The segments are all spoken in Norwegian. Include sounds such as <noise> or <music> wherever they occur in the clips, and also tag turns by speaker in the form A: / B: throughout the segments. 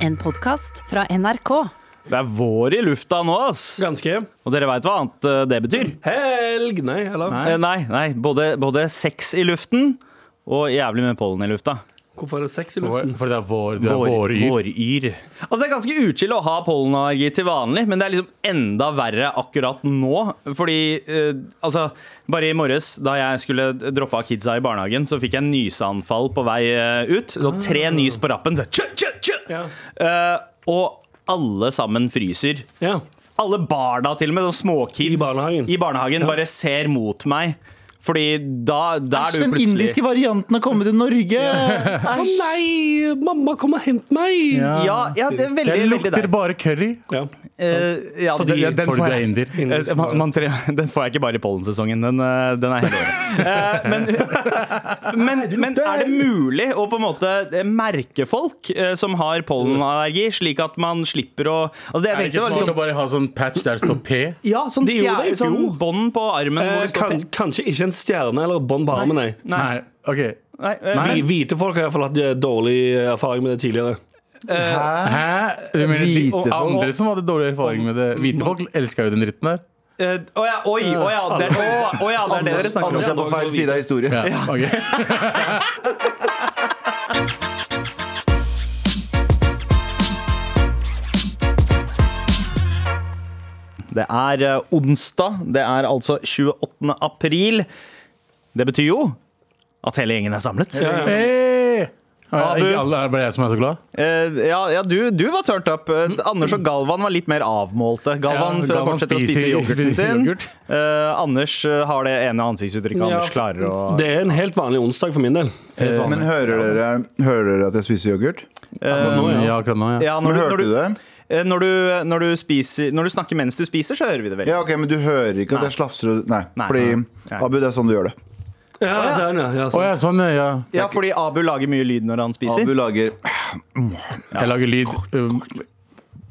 A: En podkast fra NRK.
B: Det er vår i lufta nå, ass.
C: Ganske.
B: Og dere veit hva annet eh, det betyr?
C: Helg! Nei, eller?
B: Eh, Nei, nei. Både, både sex i luften og jævlig med pollen i lufta.
C: Hvorfor er det sex i
D: Vår,
C: luften?
D: for det er vår, det er
B: Vår-
D: vår yr.
B: våryr. Altså, det er ganske utskill å ha pollenallergi til vanlig, men det er liksom enda verre akkurat nå. Fordi eh, altså, bare i morges, da jeg skulle droppe av kidsa i barnehagen, så fikk jeg nyseanfall på vei eh, ut. Så tre nys på rappen. Så, tjø, tjø, tjø.
C: Ja.
B: Eh, og alle sammen fryser.
C: Ja.
B: Alle barna, til og med, sånn småkids
C: I barnehagen.
B: i barnehagen bare ser mot meg. Fordi da, da er
E: Æsj,
B: du
E: den
B: plutselig
E: indiske varianten har kommet til Norge!
C: Å nei! Mamma, kom og hent meg!
B: Ja, ja, det er veldig,
D: Jeg
B: veldig
D: lukter
B: der.
D: bare curry.
C: Ja.
B: Eh, ja,
D: Så den,
B: de-
D: ja, den
B: får
D: får
B: jeg.
D: jeg indier.
B: Eh, man, man, tre- <laughs> den får jeg ikke bare i pollensesongen. Den, eh, den er hele året. Eh, Men,
D: <laughs>
B: men, men er det mulig å på en måte eh, merke folk eh, som har pollenallergi, slik at man slipper å altså det, jeg
D: Er det
B: tenkte
D: ikke
B: var
D: smart
B: liksom,
D: å bare ha sånn patch der det står P?
B: Ja, sånn
C: De gjorde
B: stjerne,
C: det i
B: sånn
C: fjor.
B: bånd på armen.
C: Eh,
B: hvor det står
C: kan,
B: P-
C: kanskje ikke en stjerne eller et bånd på armen, nei.
D: <clears throat> Nei. OK.
B: Nei, eh,
D: Nei.
C: Vi- Hvite folk har i hvert fall hatt eh, dårlig erfaring med det tidligere.
E: Hæ?
D: Hæ? Du mener de,
E: Hvite
D: og
E: folk?
D: andre som hadde dårlig erfaring med det? Hvite folk elska jo den dritten der.
B: eh, Å ja, oi, å ja, det er, å, å ja, det er det dere
E: Anders,
B: snakker om.
E: Anders er på feil side av historien.
D: Ja, <laughs> ok.
B: Det er eh, onsdag. Det er altså 28. april. Det betyr jo at hele gjengen er samlet.
D: Hey! Ah,
B: Abu.
D: ikke alle, er det bare jeg som er så glad?
B: Eh, ja, ja du, du var turned up. Eh, Anders og Galvan var litt mer avmålte. Galvan,
D: Ja, Galvan
B: fortsetter å spise
D: spiser-
B: yoghurten sin.
D: yoghurt.
B: Eh, Anders eh, har det ene ansiktsuttrykket Anders klarer å
C: Det er en helt vanlig onsdag for min del.
E: Men hører dere, hører dere at jeg spiser yoghurt?
D: Akkurat nå, Eh, ja, akkurat nå, ja.
B: Ja,
E: Men
B: når, du,
E: hørte
B: når,
E: du
B: du,
E: det?
B: eh, når, du, når, du spiser, når du snakker mens du spiser, så hører vi det vel.
E: Ja, ok, Men du hører ikke at jeg slafser og Nei.
B: Nei.
E: Fordi,
B: Nei.
E: Abu, det er sånn du gjør det.
C: Ja, sånn, ja, ja,
D: Å
C: sånn.
D: ja, sånn, ja.
B: Ja, fordi Abu lager mye lyd når han
E: Abu
B: spiser.
E: lager
D: Jeg lager lyd um,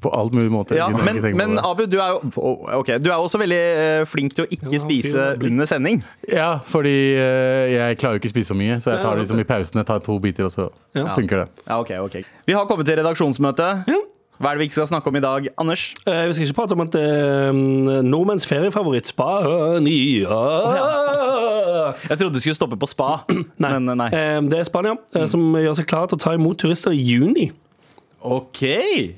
D: på alt mulig måte.
B: Ja,
D: Jeg gidder
B: men,
D: ikke tenke på
B: men
D: det.
B: Abu, du er jo, å, ok, du er jo også veldig eh, flink til å ikke
C: Ja,
B: spise
C: fin, ja.
B: under sending.
D: Ja, fordi eh, jeg klarer jo ikke å spise så mye, så jeg tar det liksom i pausen. Jeg tar to biter, og så
C: Ja.
D: funker det.
B: Ja, ok, ok Vi har kommet til redaksjonsmøte. Hva er det vi ikke skal snakke om i dag, Anders?
C: Eh, Vi skal ikke prate om at eh, nordmenns feriefavoritt Spania
B: Jeg trodde du skulle stoppe på spa,
C: Nei.
B: men eh, <clears throat> nei.
C: Eh, Det er Spania eh,
E: Mm.
C: som gjør seg klar til å ta imot turister i juni.
B: Ok,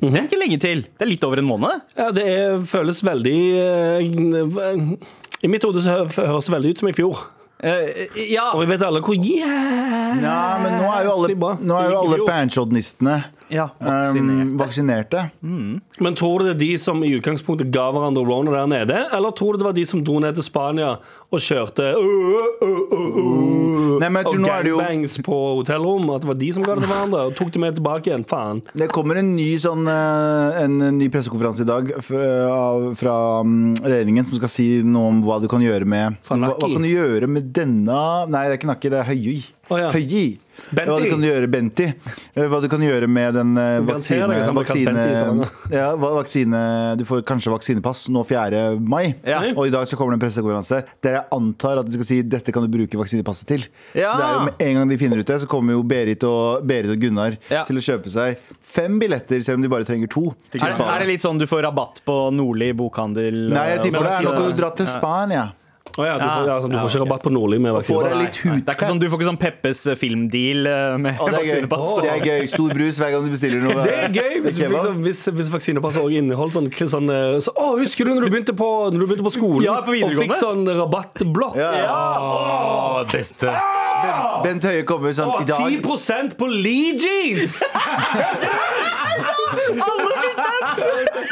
B: det er ikke lenge til. Det er litt over en måned.
C: Ja, det er, føles veldig eh, I mitt hode så hø- høres det veldig ut som i fjor.
B: Eh, ja,
C: Og vi vet alle hvor jævlig
E: Ja, men nå er jo alle,
C: bra
E: nå er
C: det gikk
E: jo
C: i
E: alle
C: fjor.
E: banchodnistene
B: ja
E: um, vaksinerte.
C: Men tror du det er de som i utgangspunktet ga hverandre rona der nede, eller tror du det var de som dro ned til Spania og kjørte øh, øh, øh, øh,
E: Mm. Nei, men jeg
C: og
E: tror nå er det jo-
C: gangbangs på hotellrom? At det var de som ga det til hverandre, og tok det med tilbake igjen? Faen.
E: Det kommer en ny, sånn, eh, en ny pressekonferanse i dag fra, av- fra mm, regjeringen som skal si noe om hva du kan gjøre med
C: Fra
E: hva,
C: Naki.
E: hva kan du gjøre med denne Nei, det er ikke Nakki, det er Høyi.
C: Å, ja.
E: Høyi.
C: Benti.
E: Hva du kan gjøre, Benti. Eh, Hva du kan gjøre med den eh,
C: Garanterer
E: vaksine...
C: deg at han blir kalt
E: vaksine,
C: Benti i Stavanger.
E: ja, hva- vaksine Du får kanskje vaksinepass nå 4. mai.
B: Ja.
E: Og i dag så kommer det en pressekonferanse der jeg antar at de skal si dette kan du bruke vaksinepasset til.
B: Ja.
E: Så det er jo med en gang de finner ut det, så kommer jo Berit og, Berit og Gunnar
B: Ja.
E: til å kjøpe seg fem billetter, selv om de bare trenger to. Til
B: Er, er det litt sånn du får rabatt på Nordli bokhandel?
E: Nei, jeg
B: eh,
E: tipper
B: og-
E: det er nok å dra til
B: Ja.
E: Spania.
C: Å ja, du
B: Ja.
C: får, ja, altså, du
B: Ja,
C: får
B: ok.
C: ikke rabatt på Nordli med
E: Får deg
C: vaksinepass.
E: litt
B: Nei, Det er ikke sånn,
E: hudtett.
B: du får ikke sånn Peppes eh, filmdeal eh, med
E: Å, det, er gøy.
B: vaksinepass.
E: det er gøy. Stor brus hver gang du bestiller noe.
C: Det er gøy hvis, liksom-
E: kebab.
C: hvis, hvis, hvis vaksinepasset også inneholdt sånn, sånn eh, så, Å, husker du når du begynte på, når du begynte på skolen
B: Ja, på videregående.
C: og fikk sånn rabattblokk?
E: Ja.
D: Å, beste.
E: Ben- Bent Høie kommer sånn
C: Å,
E: i dag.
C: 10 på Lee jeans!
E: <laughs>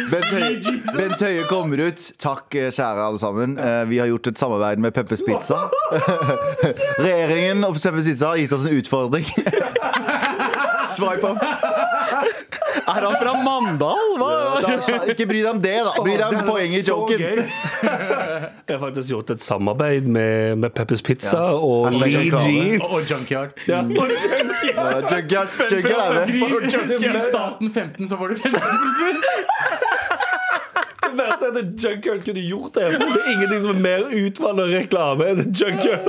E: Bent Høie, Bent Høie kommer ut. Takk, eh, kjære alle sammen. Eh, Vi har gjort et samarbeid med Peppers Pizza. <laughs> Regjeringen og Peppers Pizza har gitt oss en utfordring. Swipe up.
B: Er han fra Mandal? Hva?
E: Da, ikke bry deg om det, da. Bry deg om poenget i joken.
C: <laughs> Jeg har faktisk gjort et samarbeid med, med Peppers Pizza
E: Ja.
C: og
E: Hashtag
C: Lee
E: reklame.
C: jeans.
D: Og junkyard.
C: Ja, og junkyard.
E: Ja, Junkyard junkyard er det.
D: Skriv staten 15, så får du 15
C: <laughs> Det verste er at Junkyard kunne gjort det. For det er ingenting som er mer utvanna reklame enn Junkyard.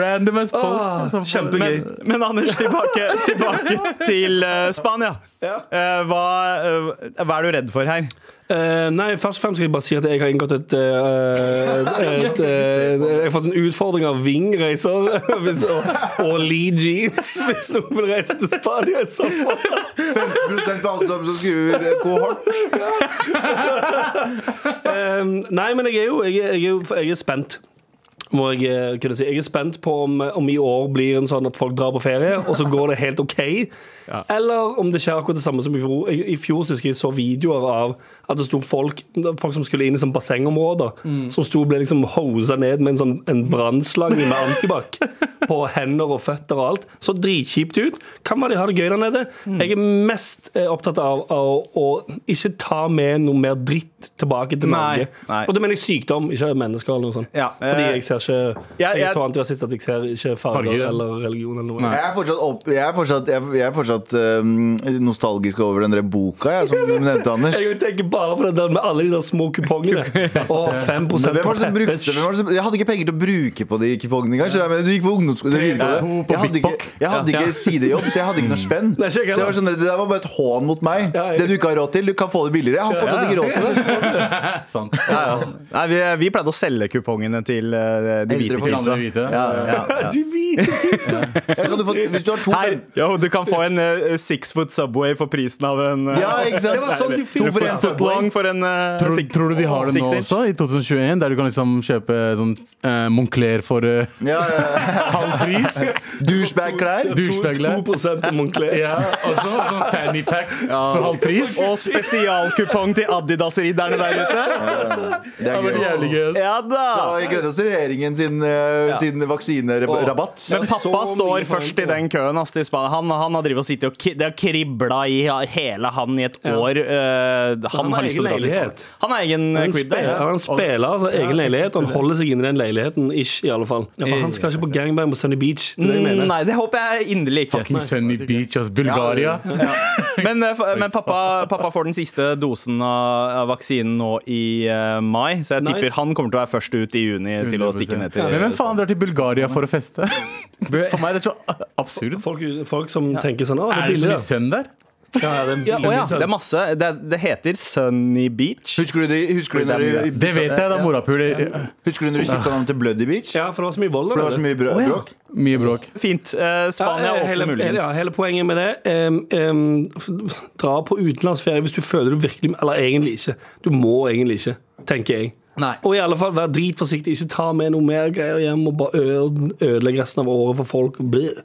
D: Random as folk. altså.
C: Kjempegøy.
B: Men, men Anders, tilbake, tilbake til eh, Spania.
C: Ja.
B: Eh, hva, eh, hva er du redd for her?
C: Eh, nei, først og fremst skal jeg bare si at jeg har inngått et, eh, et, et eh, Jeg har fått en utfordring av Ving reiser <laughs> hvis, og, og Lee Jeans hvis noen vil reise til Spania i sommer.
E: 15 på alle sammen som skriver kohort.
C: Eh, nei, men jeg er jo jeg er, jeg er, jo- jeg er spent. Må jeg eh, kunne si Jeg er spent på om, eh, om i år blir en sånn at folk drar på ferie, og så går det helt OK.
B: <laughs>
C: Eller om det skjer akkurat det samme som i fjor. I, i fjor så husker jeg så videoer av at det sto folk Folk som skulle inn i sånn bassengområder,
B: Mm.
C: som sto og ble liksom hosa ned med en, sånn, en brannslange
B: <laughs>
C: med antibac på hender og føtter og alt. Så dritkjipt ut. Kan være de har det gøy der nede.
B: Mm.
C: Jeg er mest eh, opptatt av, av å ikke ta med noe mer dritt tilbake til
B: Nei,
C: Norge.
B: nei.
C: Og da mener jeg sykdom, ikke mennesker eller noe sånt.
B: Ja,
C: Fordi
B: eh,
C: jeg ser ikke
B: Ja,
C: Jeg
B: jeg-
C: er så antirasist at jeg ser ikke farger
D: Farger, ja.
C: eller religion eller noe.
E: Jeg er fortsatt, opp, jeg er fortsatt, jeg er- jeg er fortsatt eh, nostalgisk over den der boka jeg, som du nevnte, Anders.
C: Jeg tenker bare på det der med alle de der små kupongene. Og 5 på
E: Hvem var det som brukte
C: Peppers.
E: hvem var det som, Jeg hadde ikke penger til å bruke på de kupongene engang. skjønner du hva jeg mener? Du gikk på ungdomsskolen. det
D: Tre,
E: videregående.
D: to på
E: Jeg hadde
D: Big
E: ikke, jeg hadde ikke <laughs> sidejobb, så jeg hadde ikke noe spenn.
C: Nei,
E: Så
C: ikke jeg
E: jeg var sånn, Det der var bare et hån mot meg.
C: Ja, jeg-
E: Det du ikke har råd til, du kan få det billigere. Jeg har fortsatt ikke råd til det.
D: <laughs> Sant.
B: Nei, vi, vi pleide å selge kupongene til eh, de hvite
E: Eldre folk.
B: kidsa.
D: Andre hvite.
B: Ja, ja, ja.
C: De hvite
E: Jeg kan du få, hvis du har to
B: Hei,
E: fem-
B: yo, du kan få en eh, six foot Subway for prisen av en eh,
E: Ja, ikke sant?
C: Det var sånn de
E: to
C: fikk
E: for
B: En
E: en
B: foot
E: Subway.
B: long for en eh,
D: Tror,
B: six-
D: tror du de har det nå
B: six-inch?
D: også, i 2021? Der du kan liksom kjøpe sånn eh, Moncler for eh, <laughs>
E: Ja, ja, ja.
D: halv pris?
E: Douchebag-klær.
D: Douchebag-klær.
C: 2 av Moncler.
D: <laughs> Ja, og så sånn fanny pack for halv pris.
B: Og spesialkupong til Adidas-ridderne der ute.
E: Det
D: Det
E: er
D: var
E: gøy.
D: jævlig gøy. ass.
B: Ja
E: Så
B: da!
E: jeg gleder oss til regjeringen sin, eh, sin vaksinerabatt.
B: Men pappa
C: så mye
B: står
C: poeng
B: først i
C: på det.
B: den køen. Ass, til Spania. han, han har drivet og sittet og ki- Det har kribla i hele han i et år. eh,
C: Han har
B: lyst til å dra til Spania.
C: egen leilighet.
B: Han har egen eh,
C: Han
B: crib der.
C: spiller, han spiller altså, egen leilighet, og han holder seg inne i den leiligheten. Ish, i alle fall Eh, ja, for Han skal ikke på gangbang på Sunny Beach. Det er det jeg
B: Mm,
C: mener.
B: Nei, det håper jeg inderlig ikke.
D: Fucking Sunny Beach, ass. Bulgaria.
B: Men, eh, f- men pappa, pappa får den siste dosen av, av vaksinen nå i eh, mai, så jeg
C: Nice.
B: tipper han kommer til å være først ut i juni til å stikke ned til
D: Men hvem faen drar til Bulgaria for å feste? <laughs> For meg er det så absurd.
C: Folk, folk som tenker sånn Å, det
D: Er
C: er
D: det så
C: billig,
D: mye sønn der?
C: da. Ja,
B: ja, å,
C: det er
B: ja.
C: billig,
B: Det er
C: sånn.
B: masse. Det, det heter Sunny Beach.
E: Husker du de, husker du når de,
D: Det vet jeg, da morapuler.
E: husker du når de skifta navn til Bloody Beach?
C: ja, for det var så mye vold
E: For det
C: der.
E: var så mye brø- bråk.
D: Mye bråk.
B: Fint. Eh, Spania
C: Ja, eh,
B: åpner
C: hele,
B: muligens.
C: Ja, hele poenget med det em, em, f- Dra på utenlandsferie hvis du føler du virkelig Eller egentlig ikke. Du må egentlig ikke, tenker jeg.
B: Nei.
C: Og i alle fall være dritforsiktig. Ikke ta med noe mer greier hjem og bare øde- ødelegge resten av året for folk. Bleh.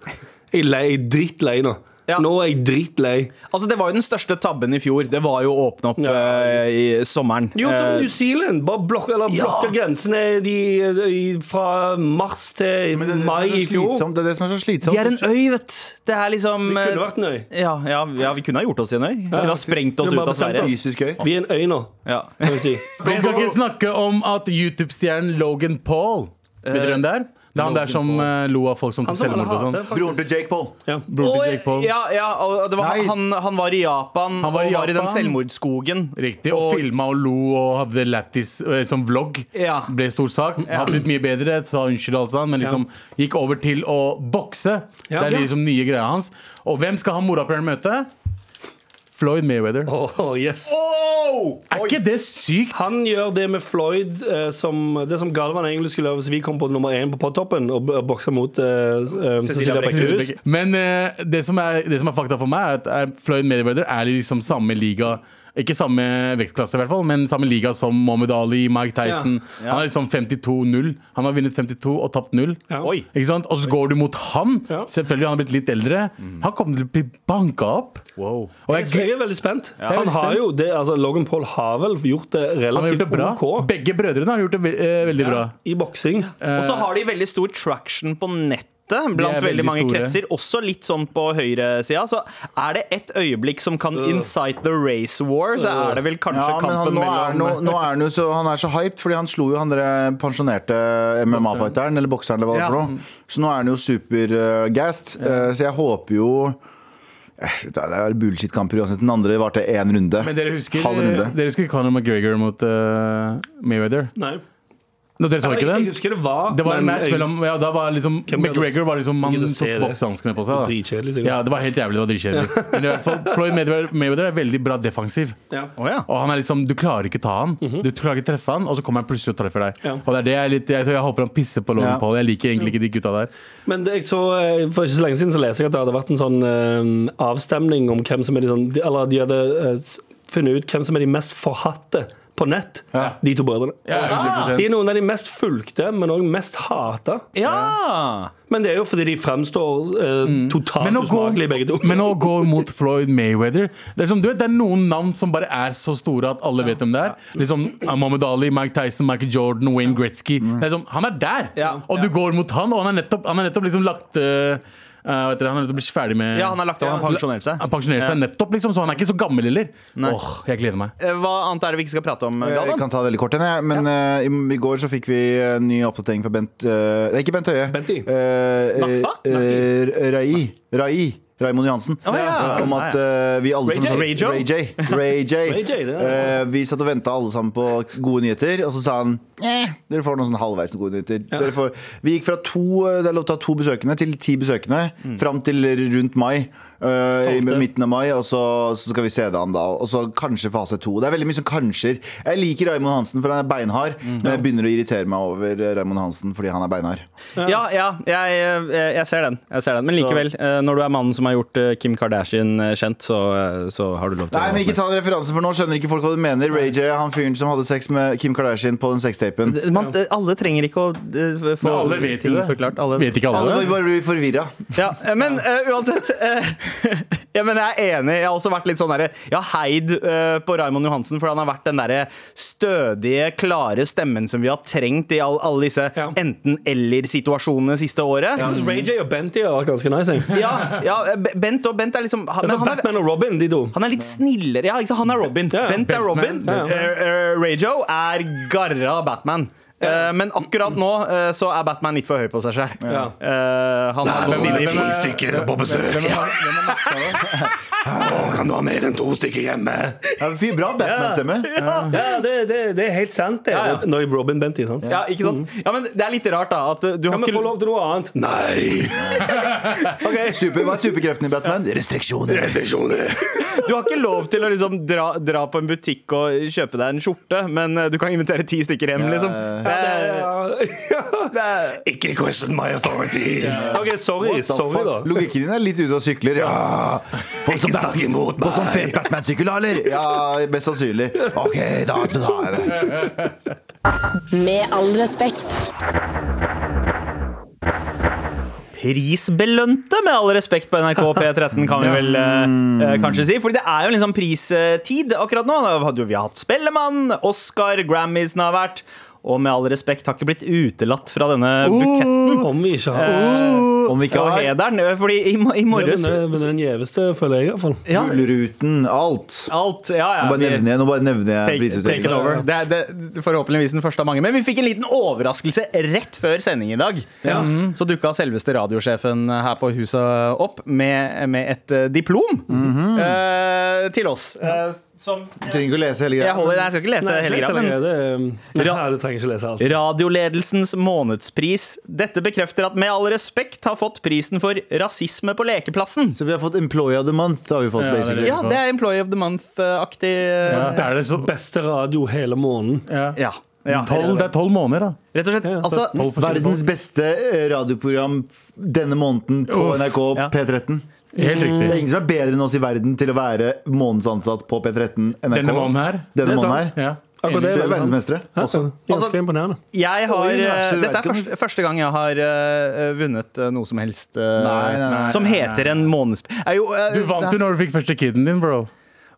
C: Jeg er lei, jeg er drittlei nå.
B: Ja.
C: Nå er jeg drittlei.
B: Altså, det var jo den største tabben i fjor. Det var jo å åpne opp
C: Ja.
B: eh, i sommeren.
C: Jo,
B: Eh,
C: som New Zealand. Bare blokk, eller
B: Ja.
C: blokke grensene de, i- fra mars til
E: Men det er det som
C: mai
E: er så
C: i fjor.
E: slitsomt, Det er det som er så
B: de er en
E: slitsomt.
B: øy, vet du. Det er liksom
C: Vi
B: eh,
C: kunne vært en øy.
B: ja, ja, ja, vi kunne ha gjort oss i en øy. Vi kunne ha sprengt oss ut
C: Vi har
B: av
C: bare bestemt
B: Sverige.
C: oss.
E: Fysisk gøy.
C: Vi er en øy nå,
B: Ja.
C: kan vi si.
D: Vi skal ikke snakke om at YouTube-stjernen Logan Paul Vet dere hvem det er? Det er han der som eh, lo av folk som
C: Han
D: tok
C: som alle
D: selvmord og sånn.
C: hater, faktisk.
E: Broren til Jake Paul.
C: Ja.
D: Broren
B: Og-
D: til Jake Paul.
B: Ja, ja, og det var,
E: Nei.
B: han, han var i Japan
D: Han var i
B: og var i den
D: Japan.
B: selvmordsskogen.
D: Riktig. Og filma og lo og hadde lættis eh, som vlogg.
B: Ja.
D: Ble stor sak. Har blitt mye bedre, sa unnskyld og alt sånt, men liksom gikk over til å bokse.
C: Ja.
D: Det er liksom nye greia hans. Og hvem skal han morapuleren møte? Floyd Mayweather.
C: Åh, yes.
D: Er ikke det sykt?
C: Han gjør det med Floyd eh, som, Det som Galvan egentlig skulle gjøre hvis vi kom på nummer én på podtoppen og b- boksa mot eh, s- eh, Cecilia Brækhus.
D: Men eh, det, som er, det som er fakta for meg, er at er Floyd Mayweather er i liksom samme liga Ikke samme vektklasse, i hvert fall, men samme liga som Mohammed Ali, Mike Tyson.
B: Ja.
D: Han er liksom 52-0. Han har vunnet 52 og tapt 0.
C: Ja.
B: Oi.
D: Ikke sant? Og så går du mot han.
C: Ja. Mm.
D: Selvfølgelig han har blitt litt eldre. Han kommer til å bli banka opp.
B: Wow.
D: Og
C: Jeg er-
D: jeg,
C: jeg er veldig spent.
D: jeg er
C: Han
D: veldig
C: har
D: spent.
C: jo det, altså Logan Paul har vel gjort det
D: han har
C: relativt
D: gjort det bra.
C: OK
D: Begge brødrene har gjort det ve eh, veldig bra.
C: i boksing.
B: Og så har de veldig stor traction på nettet. Blant
D: De er
B: veldig,
D: veldig
B: mange
D: store.
B: kretser, også litt sånn på høyresida. Så er det et øyeblikk som kan incite the race war, så er det vel kanskje
E: Ja, men han,
B: kampen
E: nå, er, nå,
B: mellom
E: nå er han jo så Han er så hyped, fordi han slo jo han der pensjonerte MMA-fighteren, eller eh, bokseren, eller hva det var for noe. Så nå er han jo supergassed. så jeg håper jo eh, Det er bullshit-kamper uansett. Den andre varte én runde.
D: Men dere husker, eh,
E: Halv runde.
D: dere husker Conor McGregor mot eh, Mayweather?
C: Nei.
D: Nå, dere så
C: Jeg,
D: ikke
C: jeg
D: den?
C: husker det var
D: Det var en
C: men
D: match
C: jeg-
D: mellom ja, da var liksom,
C: Hvem gadd å-
D: McGregor var liksom
C: gadd
D: mannen
C: å
D: som
C: se
D: tok
C: det?
D: boksehanskene på seg. Da.
C: Dritkjedelig, sikkert.
D: Ja, Det var helt jævlig. det var
C: <laughs>
D: dritkjedelig Men i hvert fall, Floyd Mayweather, Mayweather er veldig bra defensiv.
C: Ja. Mhm.
D: Og han er liksom, Du klarer ikke ta han Du klarer ikke treffe han, og så kommer han plutselig og treffer deg.
C: Ja.
D: Og det er det Jeg er litt, jeg, tror jeg håper han pisser på Logan
E: Ja.
D: Paul. Jeg liker egentlig ikke de gutta der.
C: Men det, jeg så, eh, for ikke så lenge siden så leser jeg at det hadde vært en sånn eh, avstemning om hvem som er de sånn de- Eller de hadde eh, s- funnet ut hvem som er de mest forhatte på nett. De to brødrene.
D: Ja, 100%.
C: De er noen av de mest fulgte, men òg mest hata.
B: Ja! Mm.
C: Men det er jo fordi de fremstår eh, totalt
D: Men å, gå,
C: usmakelige, begge to.
D: men å gå mot Floyd Mayweather Det er, som, du vet, det er noen navn som bare er så store at alle vet hvem det er. Liksom Mohammed Ali, Mike Tyson, Michael Jordan, Wayne Gretzky. Det er som, han er der!
B: Ja.
D: Og du går mot han, og han er nettopp, han er nettopp liksom lagt eh, eh, vet dere, Han er nettopp blitt ferdig med
B: Ja, han har lagt av, han pensjonerte seg.
D: Han pensjonerer seg nettopp, liksom, så han er ikke så gammel heller. Åh, jeg gleder meg.
B: Eh, Hva annet er det vi ikke skal prate om,
E: Jeg
B: Galvan?
E: Eh, kan ta det veldig kort igjen, jeg. Men eh, i, i går så fikk vi eh, ny oppdatering fra Bent eh, Nei, ikke Bent Høie.
C: Bent I.
E: Eh,
B: Nakstad?
E: eh, eh, Rai. Rai. Raimond Johansen.
B: ja.
E: Eh, Om at eh, vi alle
C: Ray J.
E: sammen
B: Ray Joe?
E: Ray J. Ray J.
C: Ray J, det er-
E: Eh, vi satt og venta alle sammen på gode nyheter, og så sa han eh, dere får noen sånn halvveis gode nyheter. Dere får, vi gikk fra to, eh, det er lov til å ha to besøkende til ti besøkende fram til rundt mai. eh, I midten av mai, og så, så skal vi se det an da. Og så kanskje fase to. Det er veldig mye som kanskjer. Jeg liker Raymond Hansen, for han er beinhard. Men jeg begynner å irritere meg over eh, Raymond Hansen fordi han er beinhard.
B: Ja, ja jeg, eh, jeg, ser den. jeg ser den. Men likevel, eh, når du er mannen som har gjort eh, Kim Kardashian eh, kjent, så, eh, så har du lov til
E: Nei,
B: å
E: men Ikke ta den referansen, for nå skjønner ikke folk hva du mener. Ray J, han fyren som hadde sex med Kim Kardashian på den sextapen.
B: Man, eh, alle trenger ikke å eh, få
D: Men alle vet jo
B: ting
D: det.
B: forklart. Alle.
D: Vet ikke alle
E: Alle
D: det?
E: bare blir forvirra.
B: Ja, eh, men eh, uansett eh, <laughs> ja, men Jeg er enig. Jeg har også vært litt sånn derre Jeg har heid eh, på Raymond Johansen, for han har vært den derre stødige, klare stemmen som vi har trengt i all, alle disse
C: Ja.
B: enten-eller-situasjonene siste året.
C: Jeg synes Ray J og Benty har vært ganske nice. Jeg.
B: Ja, ja, eh, B- Bent og Bent er liksom han,
C: Altså,
B: men han, er,
C: Batman og Robin, de to.
B: han er litt snillere. Ja, ikke sant? Han er Robin.
C: Ja, ja.
B: Bent er Robin. Eh,
D: Batman.
B: Ja, Rajo er garra Batman. Eh, men akkurat nå eh, så er Batman litt for høy på seg sjøl.
C: Ja.
B: han har gått videre.
D: Hvem er- Hvem er- hvem er Nakstad, da?
F: Kan du ha mer enn to stykker hjemme?
E: Ja, fy, Bra Batman-stemme.
C: Ja, det, det, det er helt sant, det.
B: Ja, ja.
C: Når Robin Benty, sant?
B: Ja, ikke sant? Ja, men det er litt rart, da. At uh, du har
C: Mm. Kan vi få
B: ikke
C: lov til noe annet?
F: Nei.
C: Ok.
E: Super, hva er superkreften i Batman? Restriksjoner.
F: Restriksjoner.
B: <laughs> Du har ikke lov til å liksom dra, dra på en butikk og kjøpe deg en skjorte, men uh, du kan invitere ti stykker hjem, liksom. Eh, Det
C: Ja.
B: er- det er-
F: Ikke question my authority.
C: OK, sorry. Sorry, da.
E: Logikken din er litt ute og sykler. Ja. På
F: Ikke
E: sånn
F: snakk imot
E: på sånn fet
F: meg.
E: Batman-sykkel, da, eller? Ja, mest sannsynlig. OK, da tar jeg det.
A: Med all respekt.
B: Prisbelønte, med all respekt, på NRK P13, kan vi vel uh, uh, kanskje si. Fordi det er jo liksom pristid akkurat nå. Da hadde jo vi hatt Spellemann, Oscar, Grammysen har vært. Og med all respekt har ikke blitt utelatt fra denne
C: Oh,
B: buketten
C: Eh, <laughs> Om vi ikke
B: Eh,
C: har
E: Om vi ikke
B: og
E: har
B: hederen. uh, Fordi i, mo- i
C: Men
B: morges
C: det er den gjeveste, føler jeg, iallfall.
B: ja,
E: Gullruten, alt.
B: Alt. Ja, ja.
E: Nå bare
B: vi-
E: nevner jeg, nå bare nevner jeg
B: Take, take it
E: prisutdelingen.
B: over. Det er det, forhåpentligvis den første av mange. Men vi fikk en liten overraskelse rett før sending i dag. Mhm. Så dukka selveste radiosjefen her på huset opp med, med et eh, diplom eh, til oss. Eh, som
E: Du trenger ikke å lese hele
B: jeg,
E: greia.
B: holder, nei, jeg skal ikke lese hele greia. men-
C: det, eh, <laughs> ja, du trenger ikke lese alt.
B: Radioledelsens månedspris. Dette bekrefter at Med all respekt har fått prisen for rasisme på lekeplassen.
E: Så vi har fått Employee of the Month. Har vi fått,
D: Ja, det er
E: basically.
D: det.
B: Ja, det er Employee of the Month-aktig. eh,
D: Det er det så
C: Beste radio hele måneden.
D: ja.
B: Ja. ja.
D: Tolv- Det er tolv måneder, da.
B: Rett og slett.
C: Ja, så
B: Altså,
D: Tolv forskjellige folk.
E: Verdens beste eh, radioprogram f- denne måneden på
D: Uff,
E: NRK
B: ja.
E: P13.
D: Helt riktig.
E: Det er ingen som er bedre enn oss i verden til å være månedens ansatt på P13 NRK.
D: Denne måneden her.
E: Denne
C: Det er
E: måneden her.
D: Ja.
C: Akkurat det
E: Så vi
C: er
E: er
C: veldig sant.
E: verdensmestere
C: Ja,
E: også.
B: Altså-
C: Ganske imponerende.
B: Jeg har,
E: Oi, universet,
B: eh, dette er
E: verden.
B: første, første gang jeg har eh, vunnet eh, noe som helst eh,
E: Nei, nei, nei,
B: som
D: nei, nei.
B: heter en månedsp... Er jo, eh,
D: Du vant jo når du fikk første kiden din, bro.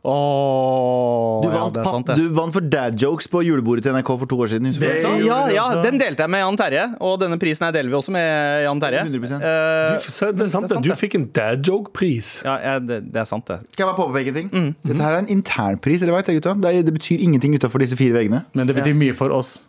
B: Åh,
E: Du
B: ja,
E: vant,
B: det er
E: pa-
B: sant, det.
E: du vant for dad jokes på julebordet til NRK for to år siden. Husker du det?
C: gjorde
B: ja,
C: du
B: ja,
C: også.
B: den delte jeg med Jan Terje, og denne prisen her deler vi også med Jan Terje.
E: 100%.
B: Eh,
C: Så Det er sant, det. Du fikk en dad joke-pris.
B: ja, ja, det, det er sant, det.
E: Skal jeg bare påpeke en ting?
B: Mm.
E: Dette her er en internpris. Dere vet, det, gutta. Det, er, det betyr ingenting utafor disse fire veggene.
D: Men det betyr mye for oss.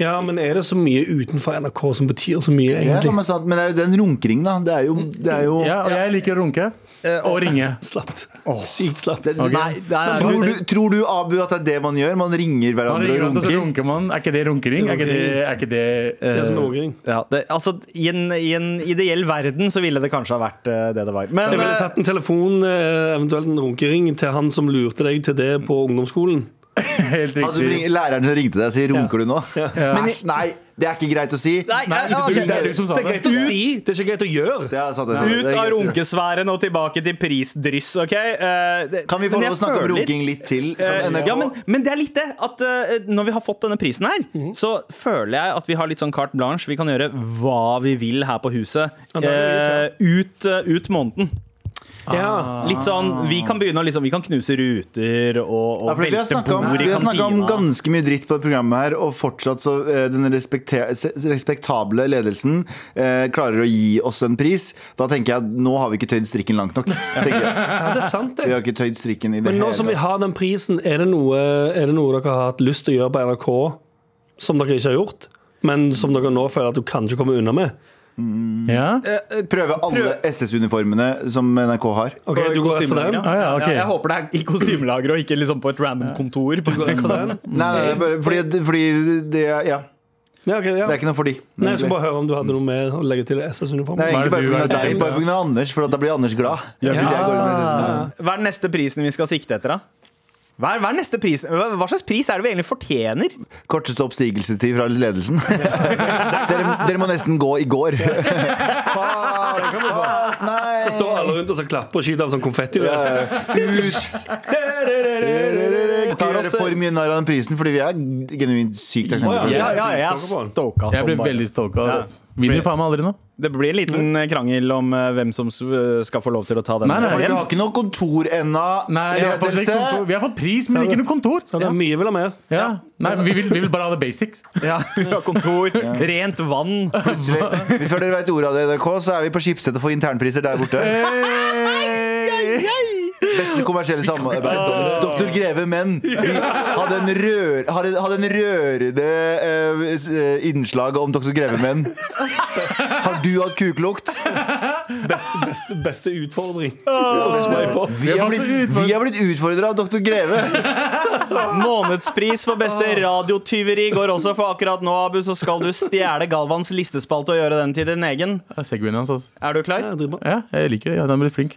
C: Ja, men er det så mye utenfor NRK som betyr så mye,
E: Ja,
C: egentlig?
E: som jeg sa, men det er jo den runkeringen, da. Det er jo, det er jo
D: Ja, og jeg liker å runke. eh, Og ringe.
C: Slapt. Sykt slapt.
E: det,
D: Nei, det er-
E: tror, du, tror du, Abu, at det er det man gjør? Man ringer
D: Man
E: hverandre
D: ringer
E: og
D: rundt, og så
E: runker?
D: runker man. Er ikke det runkering? Er ikke det, er ikke det eh,
C: Det er som en ungring.
B: Ja, det, altså, i, en, I en ideell verden så ville det kanskje ha vært eh, det det var. Men
C: Jeg ville
B: eh,
C: tatt en telefon, eh, eventuelt en runkering, til han som lurte deg til det på ungdomsskolen.
D: Helt
E: Altså, du
D: riktig.
E: ringer- læreren som ringte deg, sier 'runker du nå?'
D: Ja.
E: Æsj, nei, det er ikke greit å si.
B: Nei, nei, ja, ok.
D: Det er du som sa
C: Det er
D: det.
C: greit å si, det er ikke greit å gjøre.
E: Det er sant, det er sant.
B: Ut
E: Det er
B: av
E: greit å si.
B: runkesfæren og tilbake til prisdryss, OK? Eh, det-
E: Kan vi få
B: men jeg
E: lov å snakke om
B: føler-
E: runking litt til?
B: Eh,
E: Kan NRK?
B: Ja, men, men det er litt det. At eh, når vi har fått denne prisen her,
E: Mhm.
B: så føler jeg at vi har litt sånn carte blanche. Vi kan gjøre hva vi vil her på huset
E: sånn.
B: eh,
C: Antageligvis,
B: ut, eh, ut måneden.
C: Ja.
B: Litt sånn, Vi kan begynne å liksom, vi kan knuse ruter og, og
E: Ah. Ja, for vi har
B: velte
E: snakket om,
B: bord i
E: vi har snakket om
B: kantina.
E: ganske mye dritt på det programmet her, og fortsatt så eh, den respekte- se- respektable ledelsen eh, klarer å gi oss en pris. Da tenker jeg at nå har vi ikke tøyd strikken langt nok.
C: <laughs>
E: tenker jeg.
C: Ja, det er sant,
E: Vi
C: det.
E: har ikke tøyd strikken i det
C: Men nå som vi
E: hele tatt.
C: har den prisen, er det noe, er det noe dere har hatt lyst til å gjøre på NRK som dere ikke har gjort? Men som dere nå føler at du kanskje kommer unna med?
D: Ja?
E: Prøve alle SS-uniformene som NRK har.
C: Ok, du går rett for den?
D: Ah, ja, ok.
B: jeg håper det er i kostymelageret og ikke liksom på et random kontor. På
C: Går rett for den?
E: Nei, nei, det er bare fordi, fordi det, er- ja,
C: Ja, ok, ja.
E: det er ikke noe for de.
C: Nei, jeg skulle
E: egentlig.
C: bare høre om du hadde noe mer å legge til SS-uniformen.
E: Nei,
D: Hva er
E: egentlig
D: det
E: bare
D: du
E: pga.
D: er-
E: deg, bare pga. Anders, for at da blir Anders glad. Hvis jeg går med SS-uniform.
B: Hva er den neste prisen vi skal sikte etter, da? Hva, er, hva, er neste prisen? hva hva slags pris er det vi egentlig fortjener?
E: Korteste oppsigelsestid fra ledelsen. dere, dere må nesten gå i går. Faen, faen, nei.
C: Så står alle rundt og så klapper og skyter av sånn konfetti.
E: Eh, Ut! Ikke gjøre for mye narr av den prisen, fordi vi er genuint sykt takknemlige. for det.
C: Ja, ja, jeg
B: jeg stoka
D: Jeg ble veldig stalka. ass. Vinner faen meg aldri nå.
B: Det blir en liten krangel om eh, hvem som s- skal få lov til å ta den.
D: Nei, nei,
E: Fordi vi
B: serien.
E: har ikke noe kontor ennå.
D: Nei, vi har, fått
E: ledelse.
D: kontor. vi har fått pris, men ikke noe kontor.
C: Sånn, Ja, det er mye vil ha mer.
D: Ja. Nei, vi vil, vi vil bare ha det basics.
B: Ja, <laughs> vi har kontor, rent vann.
E: Plutselig, vi- Før dere vet ordet av det i NRK, så er vi på Skipsted og får internpriser der borte. Beste kommersielle samarbeid. Doktor Greve Menn. Vi hadde en, rør, hadde, hadde en rørende eh, s- eh, innslag om Doktor Greve Menn. Har du hatt kuklukt?
C: Beste, beste, beste utfordring å sveipe opp.
E: Vi har blitt, vi har blitt utfordra av Doktor Greve.
B: Månedspris for beste radiotyveri går også, for akkurat nå Abu, så skal du stjele Galvans listespalte og gjøre den til din egen.
D: Ja, Segwayen hans, altså.
B: Er du
C: Ja,
B: klar?
C: det er bra.
D: Ja, jeg liker det. Ja, den blir flink.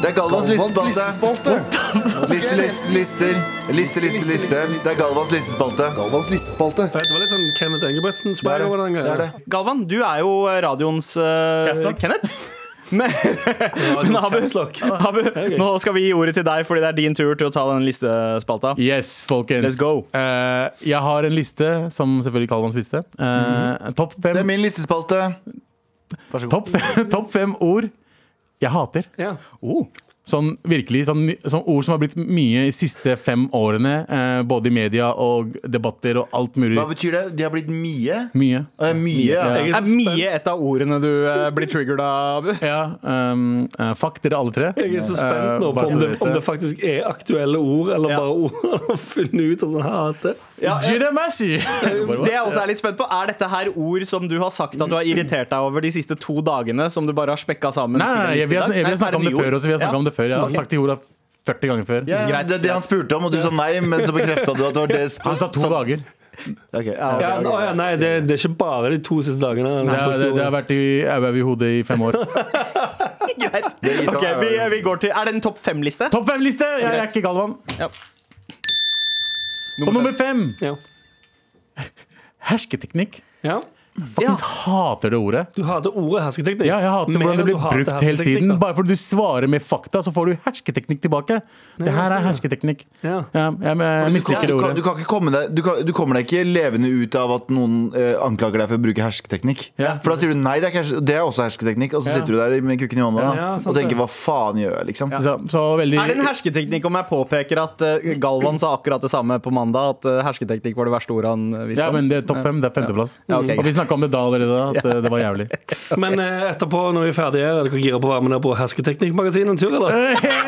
E: Det er Galvans
F: Galvans
E: listespalte. Liste, liste, lister. Liste, liste, liste. Det er Galvans listespalte.
F: Galvans listespalte.
C: Det var litt sånn Kenneth
E: Det
C: Engebretsen-swag
E: er
C: over
E: det.
C: den
E: det, er det.
C: gangen.
B: Galvan, du er jo radioens eh,
D: Jaså?
B: Kenneth. Men, men Abu, Abu, nå skal vi gi ordet til deg, fordi det er din tur til å ta den listespalta.
D: Yes, folkens.
B: Let's go.
D: Eh, jeg har en liste, som selvfølgelig Kalvans liste. Eh, Topp fem
E: Det er min listespalte. Vær så god.
D: Topp fem, <laughs> topp fem ord jeg hater.
C: Ja.
D: Sånn virkelig, sånn, sånn ord som har blitt mye i siste fem årene. Eh, både i media og debatter og alt mulig.
E: Hva betyr det? De har blitt mye?
D: Mye.
E: Eh, mye, ja.
C: Jeg
B: Er mye et av ordene du eh, blir triggered av, Abu?
D: Ja, um, eh, fuck dere alle tre.
C: Jeg er så spent nå
D: Eh,
C: på
D: bare så
C: om det,
D: dere vet
C: om det
D: det.
C: faktisk er aktuelle ord, eller
B: Ja.
C: bare ord <laughs> han har funnet ut. Og sånn, «Hæ, det.
B: Ja, eh,
D: Jiramashi! Bare,
B: det jeg også er litt spent på, er dette her ord som du har sagt at du har irritert deg over de siste to dagene, som du bare har spekka sammen?
D: Nei, nei, nei, vi har, vi har snakka om det før også. Vi har snakket om det før Jeg har sagt de orda 40 ganger før.
E: Ja,
B: Greit,
E: det er det han spurte om, og du sa nei, men så bekrefta du at det var det
D: Han sa to dager.
E: Ok.
C: Ja, nå, ja, nei, det, det er ikke bare de to siste dagene. han
D: Det,
C: har
D: har-
C: brukt
D: det, det har
C: ordet.
D: vært i auau i hodet i fem år.
B: <laughs> Greit.
E: <laughs> Det gir seg.
B: Ok, vi, vi går til Er det en topp fem-liste?
D: Topp fem-liste! Jeg er ikke Galvan.
B: Ja.
D: På nummer fem
C: Ja.
D: hersketeknikk.
C: Ja.
D: Faktisk hater det ordet.
C: Du hater ordet hersketeknikk.
D: Ja, jeg hater
C: Mer
D: hvordan det
C: enn
D: blir
C: du hater
D: brukt hele
C: hersketeknikk,
D: tiden.
C: da.
D: Bare fordi du svarer med fakta, så får du hersketeknikk tilbake. Det her er hersketeknikk. Ja,
C: Ja.
D: jeg, jeg misliker det
E: Du kan, du
D: ordet.
E: kan ikke komme deg du, kan, du kommer deg ikke levende ut av at noen eh, anklager deg for å bruke hersketeknikk.
D: Ja.
E: For da sier du nei, det er, ikke, hers- det er også hersketeknikk, og så sitter du der med kukken i hånda da,
C: Ja, sant
E: og
C: det.
E: tenker hva faen gjør jeg, liksom.
D: Så, så veldig
B: Er det en hersketeknikk om jeg påpeker at eh, Galvan sa akkurat det samme på mandag? At eh, hersketeknikk var det verste ordet han eh, visste
D: Ja, men det er topp fem. Det er femteplass.
B: Ja, ok,
D: Og vi
B: greit.
D: snakka om det da allerede, at eh, det var jævlig.
B: <laughs>
C: Men eh, etterpå, når vi er ferdige, er dere gira på å være med ned på Hersketeknikkmagasinet en tur, eller?
B: Å ja!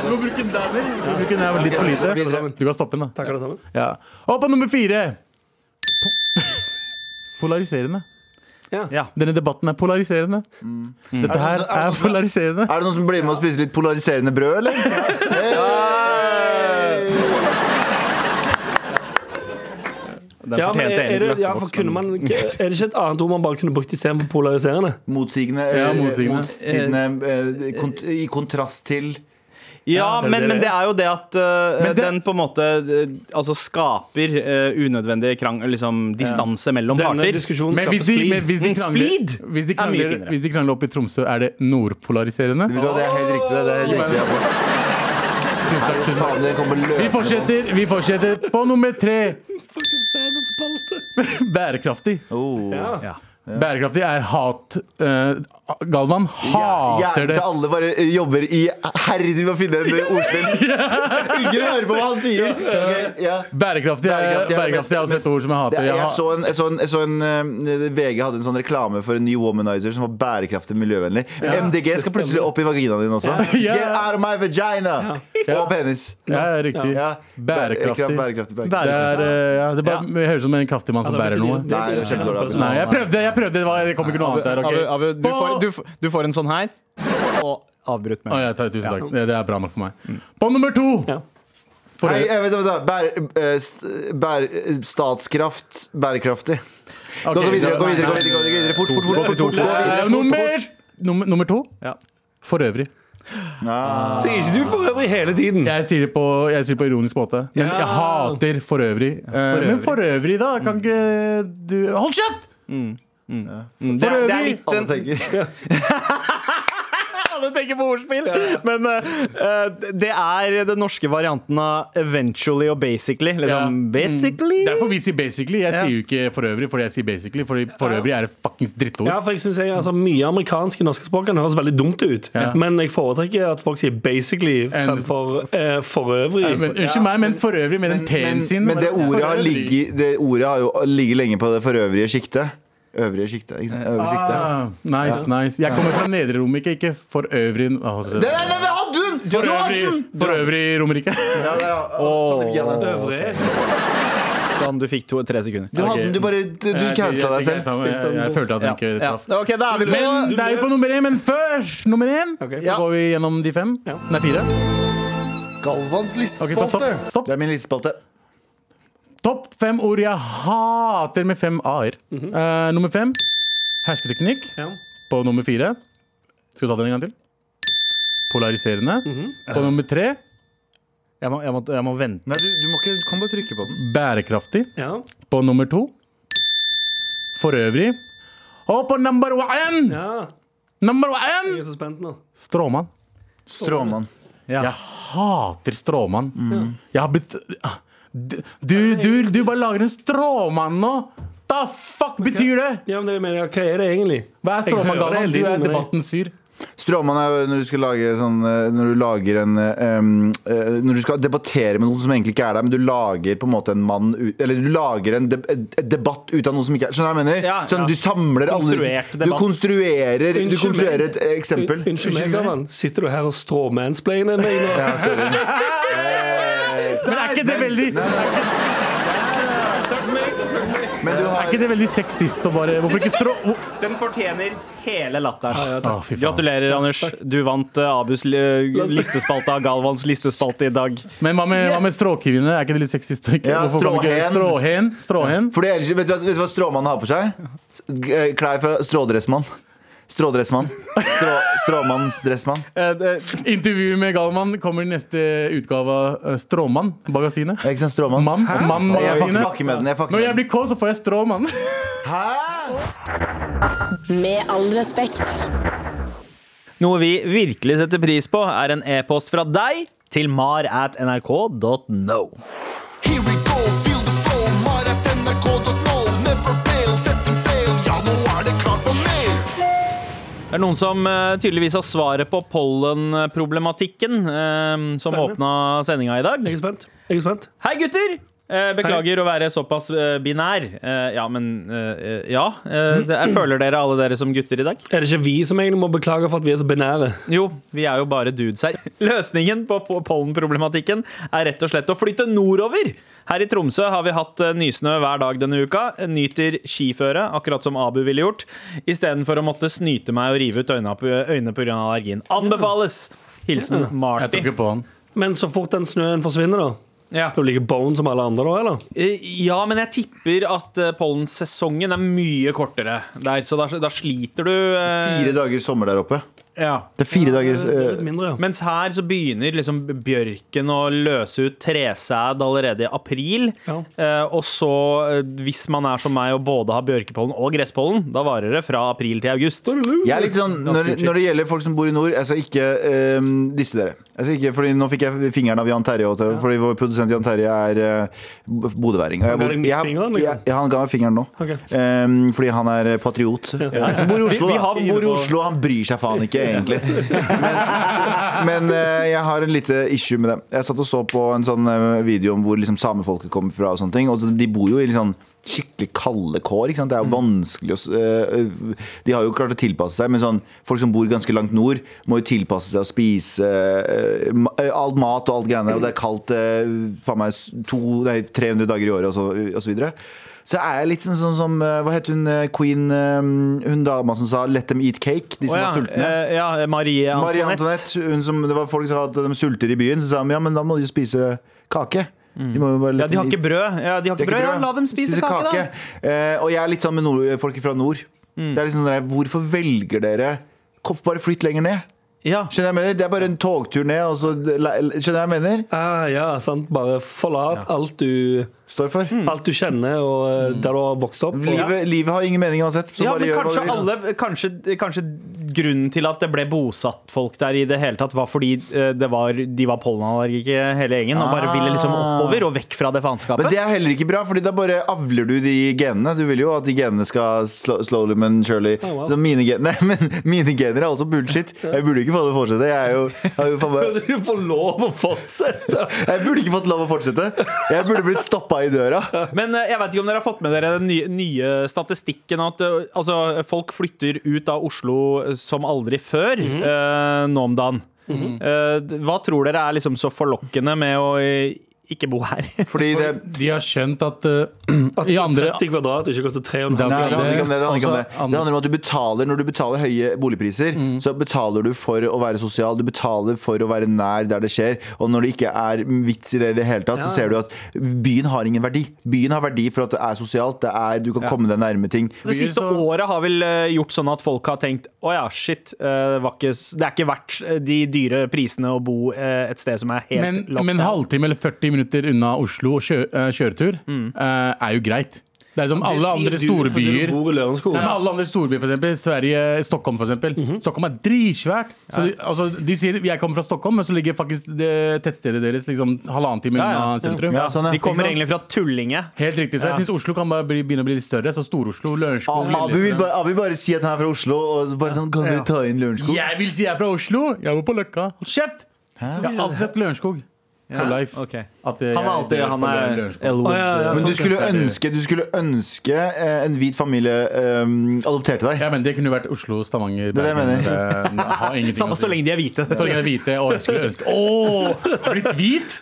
D: Du må bruke den der. Du må bruke den der litt for lite. Du kan stoppe den, da.
C: Takk, alle sammen.
D: Ja. Og på nummer fire Po- <laughs> Polariserende.
C: Ja.
B: Ja.
D: Denne debatten er polariserende.
E: Mm.
D: Dette
B: altså,
D: her er polariserende.
E: Er det noen som blir med og spiser litt polariserende brød, eller? Hey!
B: Den
C: Ja, men
B: fortjente
C: er, er,
B: egentlig
C: det, ja, for
B: Løkkevoks,
C: kunne
B: men-
C: man, er det ikke et annet ord man bare kunne brukt istedenfor polariserende?
E: Motsigende.
D: Ja,
E: eh,
D: motsigende.
E: motsigende, eh, kont I kontrast til
B: Ja, men, men det er jo det at eh,
D: Men det-
B: den på en måte eh, altså skaper eh, unødvendig krang, liksom, distanse mellom
C: Denne
B: parter.
C: diskusjonen
D: Men
C: skaper
D: hvis de,
C: splid.
D: men hvis de
B: Mm, splid
D: krangler, hvis de
B: er mye
D: krangler,
B: finere.
D: hvis de krangler opp i Tromsø, er det nordpolariserende?
E: Vet du hva, Det er helt riktig. Det det er helt riktig Jakob.
D: Tusen takk. tusen takk.
E: Faen, det kommer
D: Vi
E: løpende på.
D: fortsetter, vi fortsetter på nummer tre. <laughs>
C: Fucking standup-spalte.
D: Bærekraftig.
E: Oh.
C: Ja.
B: Ja.
D: Bærekraftig er hat. eh, Galvan hater
E: Gjerne
D: det.
E: alle bare eh, jobber i herdig med å finne en eh, ordspill.
D: <laughs>
E: Ingen hører på hva han sier. Ok, ja.
D: Bærekraftig er,
E: Bærekraftig er det
D: bærekraftig er også
E: mest-
D: et ord som jeg
E: Det,
D: hater.
E: jeg,
D: Jeg har-
E: så en, jeg så en, jeg så en eh, VG hadde en sånn reklame for en ny womanizer som var bærekraftig og miljøvennlig. MDG skal plutselig opp i vaginaen din også.
D: Ja.
E: Get out of my vagina!
D: Ja.
E: Og penis.
D: Ja, det er riktig.
E: Ja.
D: Bærekraftig.
E: bærekraftig, bærekraftig.
D: Det, er, eh, ja, det bare, høres ut som en kraftig mann som bærer noe.
E: Nei, det er kjempedårlig.
C: Bare sånn-
D: Nei, jeg prøvde, jeg prøvde det, var, det kom ikke noe annet der. ok?
B: Abu, Abu, du,
D: På-
B: får, du, f- du får en sånn her, og avbryt
D: Å,
B: meg.
D: ja, takk, tusen takk. Det, det er bra nok for meg. På nummer to
C: Ja.
D: For
E: Nei,
D: øvrig-
E: eh, vent, vent, vent. Bære, eh, st- bære, statskraft bærekraftig.
D: ok,
E: Gå videre, gå
D: nei,
E: videre,
D: nei.
E: gå videre, gå videre. Fort, fort, fort. fort, fort, gå
D: Eh,
E: videre.
D: Nummer, nummer, nummer to
B: Ja.
D: for øvrig.
C: Sier ikke du for øvrig hele tiden?
D: Jeg sier det på, jeg sier det på ironisk måte. Men
C: Ja.
D: jeg hater for øvrig. Eh, Men for øvrig, Mm. da? Kan ikke du Hold kjeft!
B: Det, er- det er
D: øvrig-
B: litt
E: Alle
B: en,
E: tenker.
B: Alle tenker på ordspill! Men eh, eh, det er den norske varianten av eventually og basically. Liksom
D: Ja.
B: basically
D: Derfor vi sier basically. Jeg sier jo ikke for øvrig, fordi jeg sier basically. Fordi for øvrig er det fuckings drittord.
C: Ja, for jeg synes jeg, altså, Mye amerikansk i norske språk kan høres veldig dumt ut,
D: Ja.
C: men jeg foretrekker at folk sier 'basically'
D: And-
C: fremfor eh, 'for øvrig'.
D: Men, unnskyld meg, men for øvrig med den T-en
E: Men,
D: sin
E: men det ordet har ligget, det ordet har jo ligget lenge på det forøvrige sjiktet. Øvrige sjiktet. Ikke sant? Øvrige sjiktet.
D: ah, Nice, nice. Jeg kommer fra nedre Romerike, ikke for øvrig Åh, så-
E: Der, der, der, der hadde hun!
D: For øvrig, for øvrig Romerike.
E: Ja, der, ja. Sandeep, ja, der.
C: Øvrig.
B: Sånn, du fikk to, tre sekunder.
E: Du hadde den, du bare Du
D: Jeg-
E: cancela
D: jeg-
E: deg selv.
D: Jeg, jeg, jeg følte at den ikke
B: Ja.
D: traff.
B: Ok, da er vi på
D: Men det er jo på nummer én, men først nummer én. Så
B: Ja.
D: går vi gjennom de fem.
C: Ja.
D: Nei, fire.
E: Galvans
D: Ok, ta stopp. stopp.
E: Det er min listespalte.
D: Topp fem ord jeg hater med fem a-er. Eh, nummer fem hersketeknikk.
C: Ja.
D: På nummer fire Skal vi ta den en gang til? Polariserende. På nummer tre
B: Jeg må, jeg må, jeg må vente.
E: Nei, du, du må ikke Du kan bare trykke på den.
D: bærekraftig.
C: Ja.
D: På nummer to for øvrig. Og på number one!
C: ja.
D: Number one!
C: Jeg er så spent nå.
D: Stråmann.
E: Stråmann.
D: Jeg hater stråmann.
E: Mm.
D: Jeg har blitt ah, du, du, du, du bare lager en stråmann nå! Da fuck betyr det?!
C: Ja, men det er, men, Hva er det egentlig?
D: Hva er
C: Jeg hører
D: stråmann,
C: det
D: Galvan?
C: hele
D: Du
C: tiden,
D: er
C: men jeg-
D: debattens fyr.
E: Stråmann er jo når du skal lage sånn eh, Når du lager en eh, em, eh, Når du skal debattere med noen som egentlig ikke er der, men du lager på en måte en mann ut- Eller du lager en deb- et debatt ut av noe som ikke er Skjønner du hva jeg mener?
B: Ja,
E: sånn,
B: ja.
E: Du samler alle
B: Konstruert
E: Du
B: debatt.
E: konstruerer, du
C: Unnskyld meg.
E: konstruerer et eh, eksempel.
C: Unnskyld meg, Galvan. Sitter du her og stråmansplainer meg nå?
E: <laughs> Ja, sorry.
D: Men er ikke det veldig,
C: Takk for meg.
E: Men du
D: er
E: har
D: ikke det veldig sexist å bare Hvorfor ikke strå... Å,
B: Den fortjener hele latteren.
D: å, fy faen.
B: Gratulerer, Anders. Du vant eh, Abus li- listespalte av <laughs> Galvans listespalte i dag.
D: Men hva med, hva med stråkvinne? Er ikke det litt sexist? å ikke-
E: Ja,
D: hvorfor kan vi ikke-
E: stråhen.
D: Stråhen. Stråhen.
E: Fordi ellers, vet, du, hva- vet du hva stråmannen har på seg? S- eh, Klær fra strådressmann. Strådressmann. Strå, stråmannsdressmann.
B: Eh, det-
D: Intervju med Galvan kommer i neste utgave av eh, Stråmann. Magasinet.
E: Ikke sant, stråmann?
D: Mann. Mann
E: Jeg fucker
D: magasinet.
E: fucker med den. Jeg fucker
D: Når
E: med
D: jeg
E: den.
D: blir K, så får jeg Stråmann.
A: Med all respekt.
B: Noe vi virkelig setter pris på, er en e-post fra deg til mar at nrk.no.
G: Here we go, feel the flow, mar at nrk.no. Never fail, setting sail, ja nå er det klart for mer.
B: Det er noen som eh, tydeligvis har svaret på pollenproblematikken eh, som åpna sendinga i dag.
C: Jeg er spent. Jeg er spent.
B: Hei, gutter!
H: Eh, Beklager å være såpass eh, binær. Eh, Ja, men eh, Ja. eh, det- Jeg føler dere, alle dere som gutter i dag?
C: Er det ikke vi som egentlig må beklage for at vi er så binære?
H: Jo, vi er jo bare dudes her. <laughs> Løsningen på på pollenproblematikken er rett og slett å flytte nordover. Her i Tromsø har vi hatt eh, nysnø hver dag denne uka. Nyter skiføre, akkurat som Abu ville gjort, istedenfor å måtte snyte meg og rive ut øynene på- øynene pga. allergien. Anbefales! Hilsen
D: Jeg tok
H: Marty.
D: ikke på han.
C: Men så fort den snøen forsvinner, da
H: Ja.
C: Da blir ikke bone som alle andre, da? eller?
H: Eh, ja, men jeg tipper at eh, pollensesongen er mye kortere der, så da, da sliter du eh,
E: Fire dager sommer der oppe.
H: Ja.
E: Det er fire dager
C: Det er litt
E: eh,
C: mindre, ja.
H: Mens her så begynner liksom bjørken å løse ut tresæd allerede i april.
C: Ja.
H: Eh, og så, eh, hvis man er som meg og både har bjørkepollen og gresspollen, da varer det fra april til august.
E: Jeg er litt sånn, når, når det gjelder folk som bor i nord, jeg skal ikke ehm, disse dere. Jeg skal ikke, fordi Nå fikk jeg fingeren av Jan Terje, også, fordi vår produsent Jan Terje er eh, b- bodøværing. Og jeg
C: Han ga
E: bor-
C: deg midt
E: jeg-
C: fingeren, liksom?
E: jeg- Han ga meg fingeren nå,
C: Ok.
E: Ehm, fordi han er patriot. Han som bor i Oslo,
H: Vi- vi
E: da.
H: har-
E: Han bor i Oslo, han bryr seg faen ikke, egentlig. Men, men eh, jeg har en lite issue med det. Jeg satt og så på en sånn eh, video om hvor liksom samefolket kommer fra, og sånne ting. Og de bor jo i litt sånn skikkelig kalde kår. Ikke sant? Det er jo
H: Mm.
E: vanskelig å s- eh, De har jo klart å tilpasse seg, men sånn, folk som bor ganske langt nord, må jo tilpasse seg å spise eh, ma- eh, alt mat og alt greiene. Og det er kaldt eh, faen meg s- to, nei, 300 dager i året, og så, og så videre. Så er jeg litt sånn, sånn som eh, Hva het hun eh, queen eh, Hun dama som sa 'let them eat cake'? De som
H: Å
E: var sultne.
H: eh, ja, Marie
E: Marie
H: Antoinette.
E: Antoinette, hun som, det var folk som sa at de sulter i byen, så sa de ja, men da må de jo spise kake. De, må jo bare
H: Mm. Ja,
E: lette
H: de har
E: litt-
H: ikke brød. Ja, de har
E: de
H: ikke brød. Ja,
E: brød.
H: la dem spise kake, da.
E: Eh, og jeg er litt sammen med nord, folk fra nord.
H: Mm.
E: Det er liksom sånn der, Hvorfor velger dere Kom, Bare flytt lenger ned.
H: Ja.
E: Skjønner jeg mener? Det er bare en togtur ned, og så Skjønner jeg mener?
C: Ah, ja, sant. Bare forlat alt, du,
E: Står for.
H: Mm.
C: alt du kjenner, og eh,
E: Mm.
C: der du har vokst opp. Og,
E: Livet, livet har ingen mening uansett. Så
H: Ja,
E: bare
H: men
E: gjør hva
H: kanskje
E: du vil.
H: alle kanskje, kanskje grunnen til at det ble bosatt folk der i det hele tatt, var fordi eh, det var, de var pollenallergikere hele gjengen og bare ville liksom oppover og vekk fra det faenskapet.
E: Men det er heller ikke bra, Fordi da bare avler du de genene. Du vil jo at de genene skal slo- slowly men surely.
C: wow.
E: Så mine, gen <laughs> nei, men mine gener er også bullshit. Jeg burde ikke få lov å fortsette. Jeg, er jo, jeg, har jo faen meg-
C: du får lov å fortsette!
E: jeg burde ikke fått lov å fortsette. Jeg burde blitt stoppa i døra.
H: Men eh, jeg vet ikke om dere har fått med dere den nye, nye statistikken at eh, altså, folk flytter ut av Oslo eh, som aldri før
D: Mhm.
H: eh, nå om dagen. Eh, d- hva tror dere er liksom så forlokkende med å eh, ikke bo her? <laughs>
E: Fordi det
D: De har skjønt at <clears throat> uh, i andre
C: 30 kvadrat ikke koster 3,5.
E: Nei, det handler ikke om det. Det handler, ikke om det.
D: Altså, andre- Mm.
E: det handler om at du betaler Når du betaler høye boligpriser, så betaler du for å være sosial, du betaler for å være nær der det skjer. Og når det ikke er vits i det i det hele tatt, så ser du at byen har ingen verdi. Byen har verdi for at det er sosialt, det er, du kan komme deg nærme ting.
H: Det siste
D: så-
H: året har vel eh, gjort sånn at folk har tenkt å ja, shit, eh, det, var ikke, s- det er ikke verdt eh, de dyre prisene å bo eh, et sted som er helt
D: men,
H: locked
D: men
H: down.
D: halvtime eller 40 minutter unna Oslo og kjø, eh, kjøretur
H: Mm.
D: eh, er jo greit. Det er som alle andre store byer.
C: Du bor i Lørenskog.
D: Nei, men alle andre storbyer, for eksempel, Sverige, Stockholm for eksempel.
H: Mhm.
D: Stockholm er dritsvært. Så de, altså, de sier jeg kommer fra Stockholm, men så ligger faktisk det tettstedet deres liksom halvannen time unna
H: Ja, ja.
D: sentrum.
E: Ja, sånn, ja.
H: De kommer
D: Ikke sant?
H: egentlig fra Tullinge.
D: Helt riktig. Så jeg synes Oslo kan bare bli, begynne å bli litt større. Så Stor-Oslo, Lørenskog
H: Ah,
E: Abu, Abu vil
D: Lillestrøm.
E: bare, Abu bare si at han er fra Oslo, og bare sånn Kan du ta inn Lørenskog?
D: Jeg vil si jeg er fra Oslo! Jeg bor på Løkka. Hold kjeft! Jeg har alltid sett Lørenskog. For life.
H: Ok.
D: At eh, jeg-
H: Han er alltid
D: jeg-
H: han
D: for
H: er
D: Lørenskog.
H: Elwood.
C: Å, ja, ja,
E: Men
C: sant,
E: du skulle
D: ja.
E: ønske, du skulle ønske eh, en hvit familie eh, adopterte deg.
D: Ja, men Det kunne vært Oslo, Stavanger,
E: er det jeg mener.
D: Bergen, det har ingenting å
H: Samme
D: si.
H: så lenge de er hvite.
D: Så lenge jeg er hvite. Å, jeg skulle ønske Å! Blitt hvit!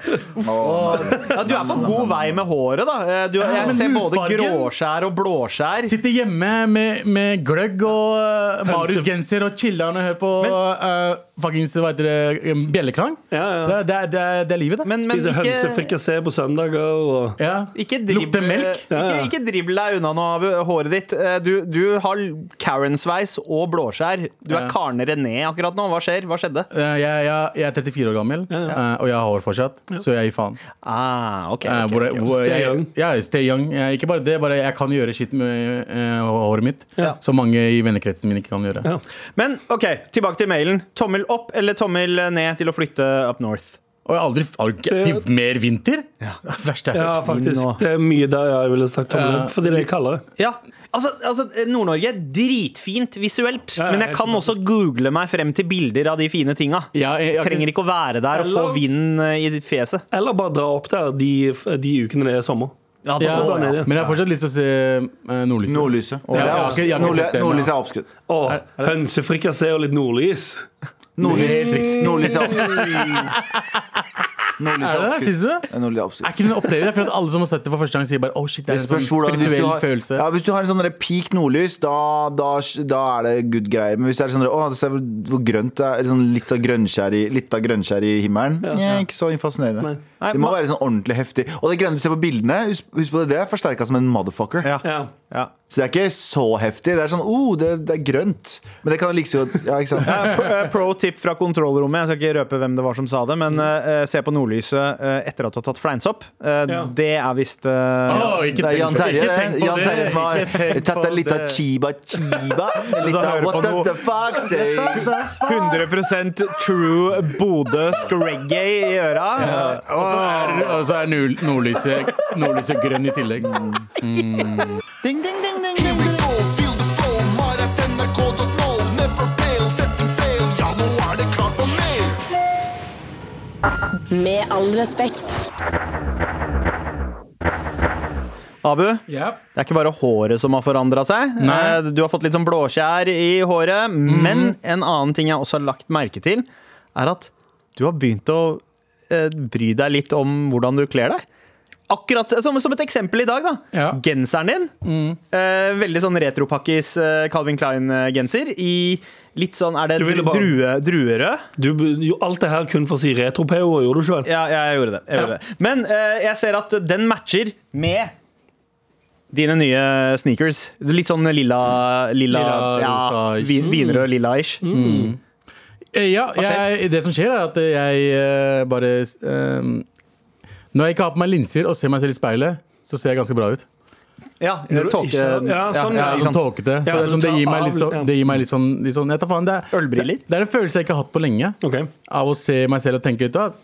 H: Ja, du er på god vei med håret, da. Eh, Du, jeg
D: men
H: ser både
D: hudfargen-
H: gråskjær og blåskjær.
D: Sitter hjemme med, med gløgg og uh, Marius-genser og chiller'n og hører på uh, fuckings hva heter det, um, bjelleklang.
C: Ja, ja.
D: Det, er- det, er- det, er- det er livet, det.
H: Men, men
C: Spiser
H: ikke,
C: hønsefrikassé på søndager. Og
D: ja.
H: ikke dribb- eh,
D: Lukter melk.
H: Ikke, ikke dribbel deg unna nå, Abu, håret ditt. Eh, Du, du har Karen-sveis og blåskjær. Du er
D: Ja.
H: Karne René akkurat nå. Hva skjer? Hva skjedde?
D: Uh, jeg, jeg, jeg er 34 år gammel, uh, og jeg har hår fortsatt, så jeg gir faen.
H: Ah, ok,
D: Eh,
H: ok,
D: hvor,
H: ok.
D: hvor,
C: Stay
D: jeg,
C: young.
D: Ja, stay young. Eh, ikke bare det, bare jeg kan gjøre shit med eh, håret mitt. Som mange i vennekretsen min ikke kan gjøre.
C: Ja.
H: eh, Men ok, tilbake til mailen. Tommel opp eller tommel ned til å flytte up north?
D: Og jeg har aldri har til mer vinter. <laughs> Det verste jeg
C: Ja,
D: har hørt.
C: faktisk. Det er mye der jeg ville sagt om det. Fordi det er kaldere.
H: Ja, altså, altså Nord-Norge, dritfint visuelt.
C: ja,
H: men jeg
C: helt
H: kan også google meg frem til bilder av de fine tinga.
D: Ja, jeg- jeg-
H: Trenger ikke å være der og få
C: Eller-
H: vinden eh, i fjeset.
C: Eller bare dra opp der de, de ukene det er sommer.
H: Ja,
D: Ja,
C: da ned, ja.
D: men jeg har fortsatt lyst til å se eh, nordlyset.
E: Nordlyset.
D: Ja, jeg har ikke- jeg har ikke sett
E: Nordly-
D: den, ja.
E: Nordlyset er oppskrytt.
C: Åh, hønsefrikassé og litt nordlys.
E: Nordlys Nordlys er <laughs> oppskrytt. Nordlys
D: Er
E: er oppskrytt.
D: det det? Syns du det?
E: Ja, Nordlys er
D: Er
E: oppskrytt.
D: ikke det en opplevelse? Jeg føler at alle som har sett det for første gang, sier bare oh shit, det
E: Det
D: er en sånn
E: spørs hvordan, hvis, du
D: spirituell
E: har,
D: følelse.
E: ja, hvis du har en sånn der peak nordlys, da, da, da er det good greier. Men hvis det er sånn der, å, se hvor, hvor grønt det er, eller sånn litt av grønnskjær i, litt av grønnskjær i himmelen, ja. ikke så fascinerende.
D: Nei,
E: det må
D: ma-
E: være sånn ordentlig heftig. Og det grønne du ser på bildene, husk, husk på det, det er forsterka som en motherfucker.
D: Ja.
C: Ja.
D: Ja.
E: Så det er ikke så heftig. Det er sånn oh, det, det er grønt. Men det kan like så godt Ja, ikke sant.
H: Eh, pro- eh, Pro tip fra kontrollrommet. Jeg skal ikke røpe hvem det var som sa det, men eh, se på nordlyset eh, etter at du har tatt fleinsopp. Eh,
C: Ja.
H: Det er visst eh,
D: Åh,
E: Det er
D: ikke tenk
E: Jan
D: på-
E: Terje,
D: ikke tenk
E: det.
D: på
E: Jan
D: det.
E: Terje som har
D: Ikke tenk
E: tatt
D: på
E: en liten
D: det.
E: chiba
D: <laughs>
E: chiba. En liten
H: så hører du på
E: what does
H: noe-
E: the fuck say?
H: 100 true bodøsk reggae i øra.
D: Og så er, og så er nul- nordlyset, nordlyset grønn i tillegg.
E: Ding, ding, ding, ding,
G: Here
E: ding.
G: we go, feel the flow, mar at nrk.no. Never fail, setting sail, ja, nå er det klart for mer.
A: Med all respekt.
H: Abu,
D: Ja.
H: det er ikke bare håret som har forandra seg.
D: Nei.
H: Eh, Du har fått litt sånn blåskjær i håret.
C: Mhm.
H: Men en annen ting jeg også har lagt merke til, er at du har begynt å eh, bry deg litt om hvordan du kler deg. Akkurat som, som et eksempel i dag, da.
D: Ja.
H: Genseren din.
C: Mhm.
H: Eh, veldig sånn retropakkis eh, Calvin Klein-genser i litt sånn Er det
C: Du ville
H: dru-
C: bare-
H: drue, druerød?
C: Du, jo, alt det her kun for å si retropeo, gjorde du ikke vel?
H: Ja, ja, jeg gjorde det. Jeg gjorde
C: Ja.
H: det. Men eh, jeg ser at den matcher med dine nye sneakers. Litt sånn lilla, lilla,
D: Lilla,
H: ja,
D: rosa-ish.
H: vin- vinrød, lilla-ish.
D: Eh, Ja, jeg, det som skjer er at jeg eh, bare eh, Når jeg ikke har på meg linser og ser meg selv i speilet, så ser jeg ganske bra ut.
H: Ja,
C: du
H: eh, tåke-
C: ikke har- ja, sånn,
D: Jeg
C: ja,
D: er
H: ikke
D: sånn
H: sant?
D: tåkete. Så
C: Ja,
D: det, er
C: du
D: sånn, det
C: tar
D: gir meg
C: av-
D: litt sånn,
C: ja.
D: det gir meg litt sånn, litt sånn jeg tar faen, det er,
H: Ølbriller?
D: Det er en følelse jeg ikke har hatt på lenge.
C: Ok,
D: Av å se meg selv og tenke ut av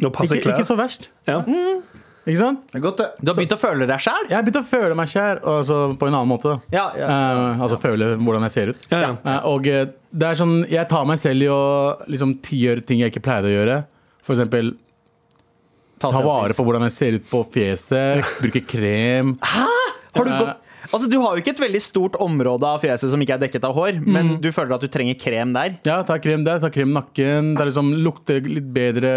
C: nå passer
D: ikke,
C: klær.
D: ikke så verst.
C: Ja.
D: Ikke sant?
E: Det er godt, det.
H: Du har begynt å føle deg sjæl?
D: Jeg har begynt å føle meg kjær altså, på en annen måte. da.
H: Ja, ja.
D: Eh, altså føle hvordan jeg ser ut.
C: Ja, ja.
D: Eh, og eh, det er sånn, jeg tar meg selv i å liksom, ti- gjøre ting jeg ikke pleide å gjøre. For eksempel ta vare på hvordan jeg ser ut på <laughs> fjeset, bruke krem.
H: Har du gått Altså, Du har jo ikke et veldig stort område av fjeset som ikke er dekket av hår, men du føler at du trenger krem der.
D: Ja, ta krem der, ta krem i nakken. Det er liksom lukte litt bedre.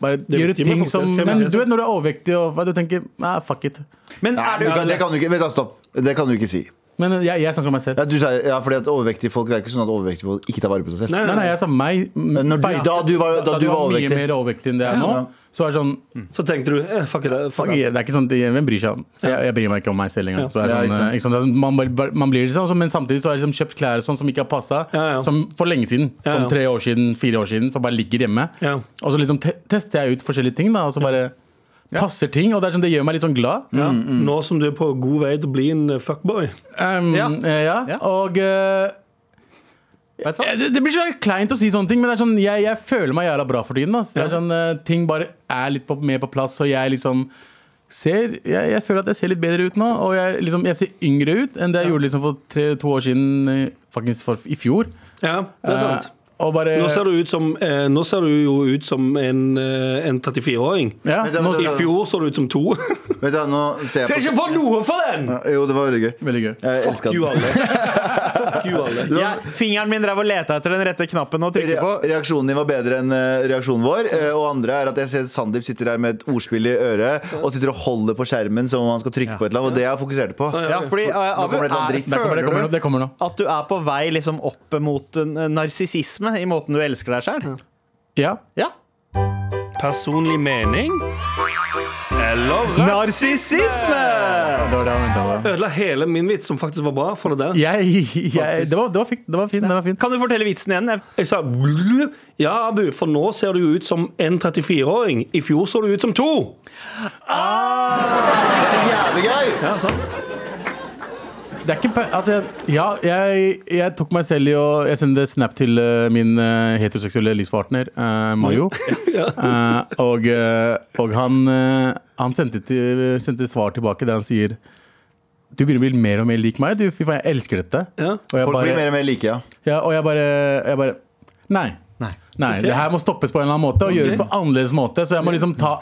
D: Bare
C: er
D: gjøre
C: viktig med
D: ting som
C: fuktighetskrem,
D: Men
C: ja.
D: du vet når du er overvektig og hva, du tenker Nei, fuck it.
H: Men
E: Nei,
H: er
E: du kan,
H: du,
E: det kan du ikke. Vent da, stopp. Det kan du ikke si.
D: Men jeg, jeg snakker om meg selv.
E: Ja, du sa, ja, fordi at overvektige folk Det er ikke sånn at overvektige folk ikke tar vare på seg selv.
D: Nei, nei, jeg sa meg. m,
E: Når du,
D: feit.
E: da du var, da du var
D: mye
E: overvektig.
D: mer overvektig enn det jeg er nå,
E: Ja.
D: så er det sånn
C: Så tenkte du eh, fuck it, fuck
D: fuck,
C: it.
D: it, det er ikke sånn, det- Hvem bryr seg om jeg, jeg bryr meg ikke om meg selv engang. Så det
E: Ja,
D: er sånn,
E: ikke sant.
D: eh, ikke sant? Det er- Man, bare- bare- man blir det sånn, så- men samtidig så har jeg liksom kjøpt klær og sånn som ikke har passa
C: Ja, ja.
D: Som for lenge siden.
C: Ja, ja.
D: Som tre år siden, fire år siden, som bare ligger hjemme.
C: Ja.
D: Og så liksom te tester jeg ut forskjellige ting, da, og så bare passer ting. Og det, er sånn, det gjør meg litt sånn glad.
C: Ja. Nå som du er på god vei til å bli en eh, fuckboy.
D: Um,
H: Ja.
D: ja. ja.
H: Ja.
D: Og eh,
H: Vet du hva?
D: ja, Eh, det, det blir så kleint å si sånne ting, men det er sånn, jeg, jeg føler meg jævla bra for tiden. ass. Det er
C: Ja.
D: sånn, eh, ting bare er litt på, mer på plass, og jeg liksom ser jeg, jeg føler at jeg ser litt bedre ut nå. Og jeg, liksom, jeg ser yngre ut enn det jeg gjorde liksom, for tre, to år siden, eh, faktisk for, i fjor.
C: Ja, det er sant.
D: Eh, og bare
C: Nå ser du, ut som, eh, nå ser du jo ut som en, eh, en 34-åring.
D: ja,
E: Men det
D: nå,
E: var-
C: I fjor så du ut som to.
E: Vet du, nå ser jeg
C: ikke få noe for den!
E: på Jo, det var veldig gøy.
D: Veldig gøy.
E: Jeg
C: Fuck
E: elsker
C: you
E: den. <laughs>
C: alle. Fuck you alle.
H: Jeg- fingeren min drev og leta etter den rette knappen å trykke på.
E: Re- Reaksjonen din var bedre enn eh, reaksjonen vår. Eh, Og andre er at jeg ser Sandeep sitter der med et ordspill i øret og sitter og holder på skjermen som om han skal trykke på et eller annet, og det jeg fokuserte på.
H: Ja, fordi, eh,
E: kommer
H: Abu,
E: det et eller annet
H: er,
E: dritt.
D: Det kommer, det, kommer, nå,
H: føler du
D: det kommer nå.
H: at du er på vei liksom opp mot eh, narsissisme i måten du elsker deg sjøl?
D: Ja.
H: Ja.
C: Personlig mening eller
H: Narsissisme!
D: Det var det jeg ventet på.
C: Ødela hele min vits, som faktisk var bra. For det der.
D: Jeg, <laughs> jeg, det, var, det var fint. Det var fint, det var fint.
H: Kan du fortelle vitsen igjen? Jeg-
C: Jeg sa "Blubb." Ja, Abu, for nå ser du jo ut som en 34-åring. I fjor så du ut som to.
E: Jævlig gøy!
C: Ja, sant?
D: det er ikke per- altså, jeg, Ja, jeg, jeg tok meg selv i å Jeg sendte snap til eh, min eh, heteroseksuelle livspartner, eh, Mario. Eh, og, eh, og han, eh, han sendte, til, sendte svar tilbake der han sier Du begynner å bli mer og mer lik meg. Du, fy faen, jeg elsker dette.
C: Ja.
D: Og jeg
E: Folk
D: bare-
E: blir mer og mer like, ja.
D: ja, og jeg bare, jeg bare Nei. Nei, Det her må stoppes på en eller annen måte og gjøres på annerledes måte. Så jeg må liksom ta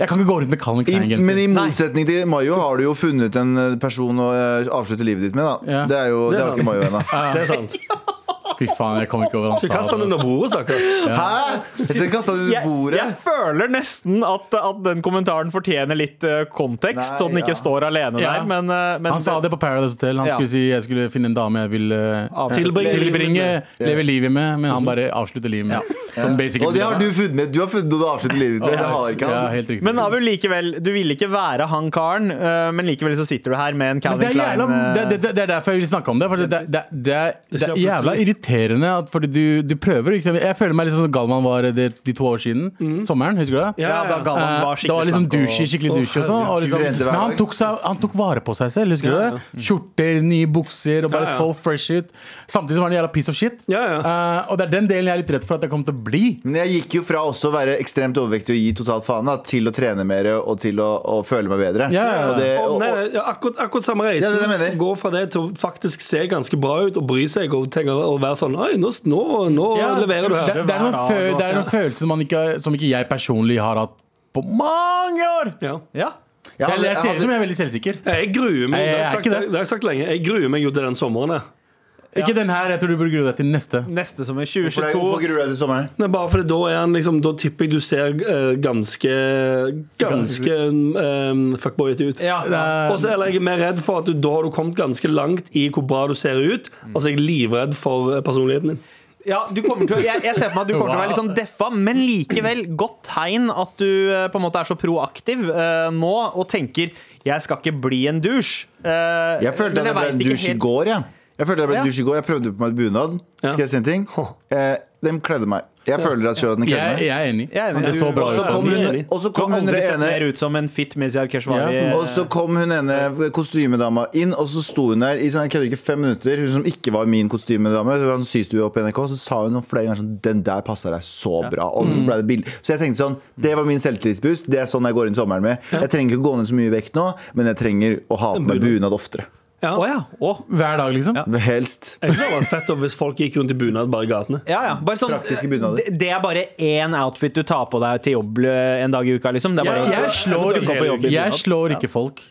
D: Jeg kan ikke gå rundt med Calvin
E: I, men i
D: Klein-genser.
E: motsetning til Mayo har du jo funnet en eh, person å eh, avslutte livet ditt med, da.
D: Ja.
E: Det er jo det
C: Det er
E: har
C: sant.
E: ikke Mayo
D: <laughs>
E: ennå.
C: Det er
E: <laughs>
C: sant.
D: Fy faen, jeg kom ikke over han
C: Ikke kast den under bordet, stakkar.
E: Eh, Hæ?! Jeg skal kaste den under
B: Jeg,
E: bordet.
B: jeg føler nesten at, at den kommentaren fortjener litt eh, kontekst,
E: Nei,
B: så den
E: ja.
B: ikke står alene
D: Ja.
B: der. Men, eh, men
D: Han sa det på Paradise Hotel. Han
B: Ja.
D: skulle si jeg skulle finne en dame jeg ville eh,
C: Tilbringe livet
D: tilbringe
C: med.
D: leve livet med, men han bare avslutter livet med. Som basically
E: Og det har du funnet. Du har funnet noe du har avsluttet livet ditt med. Det har ikke
D: Ja,
E: han.
D: helt riktig.
B: Men Abu, likevel, du ville ikke være han karen, øh, men likevel så sitter du her med en
D: Men det
B: Calvin
D: er, jævla,
B: Klein øh,
D: det, det, det er derfor jeg vil snakke om det. For det, det, det, det, er- det er jævla irriterende at fordi du, du prøver. Ikke sant? Jeg føler meg litt sånn som Galvan var de, de to år siden. Sommeren, husker du det?
B: Ja, da Galvan var
D: Eh, det var
B: skikkelig
D: liksom
B: slank og-
D: douche, skikkelig douche og sånn. og Liksom,
E: herregud.
D: men han tok, seg, han tok vare på seg selv, husker du det? Skjorter, nye bukser og bare
C: Ja, ja.
D: så fresh ut. Samtidig som han var en jævla piece of shit.
C: Ja, ja.
D: Eh, og det er den delen jeg er litt redd for at jeg kommer til å bli.
E: Men jeg gikk jo fra også å være ekstremt overvektig og gi totalt faen, da, til å trene mer og til å, å føle meg bedre.
D: Ja, ja, ja.
E: Og det,
C: Å,
E: og,
C: nei,
E: og,
C: ja, akkurat, akkurat samme
E: Ja,
C: reisen.
E: det er det jeg mener.
C: Gå fra det til å faktisk se ganske bra ut og bry seg og, tenke, og være sånn Oi, nå, nå, nå leverer du
D: det,
C: her.
D: det er noen, fø, det er noen følelser som, man ikke, som ikke jeg personlig har hatt på mange år.
C: Ja.
D: Ja.
E: Jeg
D: Jeg,
E: hadde-
D: jeg ser
E: jeg
D: ut som jeg er veldig selvsikker.
C: Jeg gruer meg.
D: Jeg
C: Det har
D: er
C: jeg sagt,
D: ikke
C: det
D: det.
C: har jeg sagt lenge. Jeg gruer meg jo til den sommeren. Jeg.
D: Ikke den her. Jeg tror du burde grue deg til neste.
B: Neste som er
E: for det,
B: 2022.
E: hvorfor gruer du deg til sommeren?
C: Nei, bare fordi da er han liksom Da tipper jeg du ser eh, ganske Ganske um, fuckboyete ut.
B: Ja.
C: Og så er jeg mer redd for at du, da har du kommet ganske langt i hvor bra du ser ut. Altså, jeg er livredd for eh, personligheten din.
B: Ja, du kommer til, å- jeg, jeg ser for meg at du kommer til å
D: <laughs>
B: være litt sånn deffa, men likevel godt tegn at du øh, på en måte er så proaktiv øh, nå og tenker 'jeg skal ikke bli en douche'. Eh,
E: Jeg følte
B: men
E: at jeg ble
B: vet
E: en
B: ikke
E: dusj i
B: helt-
E: går, jeg. Jeg følte at jeg ble
B: Ja.
E: en dusj i går Jeg prøvde på meg et bunad.
C: Ja.
E: Skal jeg si en ting? Eh, den kledde meg. Jeg føler at kjøret den kledde
D: Jeg,
E: meg.
D: jeg er enig.
B: Jeg er enig.
D: Det så bra
E: Og så
D: ut.
E: kom
C: Jeg er
E: hun,
C: enig.
E: og så
B: Du
E: kom
B: har
E: hun
B: aldri sett
E: ene
B: mer ut som en fit Mizar Keshvari.
D: Ja.
E: Og så kom hun ene kostymedama inn, og så sto hun der i sånn, jeg kødder ikke, fem minutter. Hun som ikke var min kostymedame, hun var en systue oppe i NRK, så sa hun noen flere ganger sånn Den der passer deg så bra. Og
D: Mm.
E: så ble det billig. Så jeg tenkte sånn Det var min selvtillitsboost. Det er sånn jeg går inn sommeren med. Jeg trenger ikke gå ned så mye i vekt nå, men jeg trenger å ha på meg bunad oftere.
C: Ja.
B: Å ja. å.
D: Hver dag, liksom.
E: Helst.
C: Jeg synes det hadde vært fett om hvis folk gikk rundt i bunad bare i gatene.
B: Ja, ja. Bare sånn,
E: Praktiske bunader.
B: Det, det er bare én outfit du tar på deg til jobb eh, en dag i uka, liksom. Det er bare,
D: Jeg, jeg, slår,
B: Du går på jobb i bunad.
D: jeg slår ikke folk.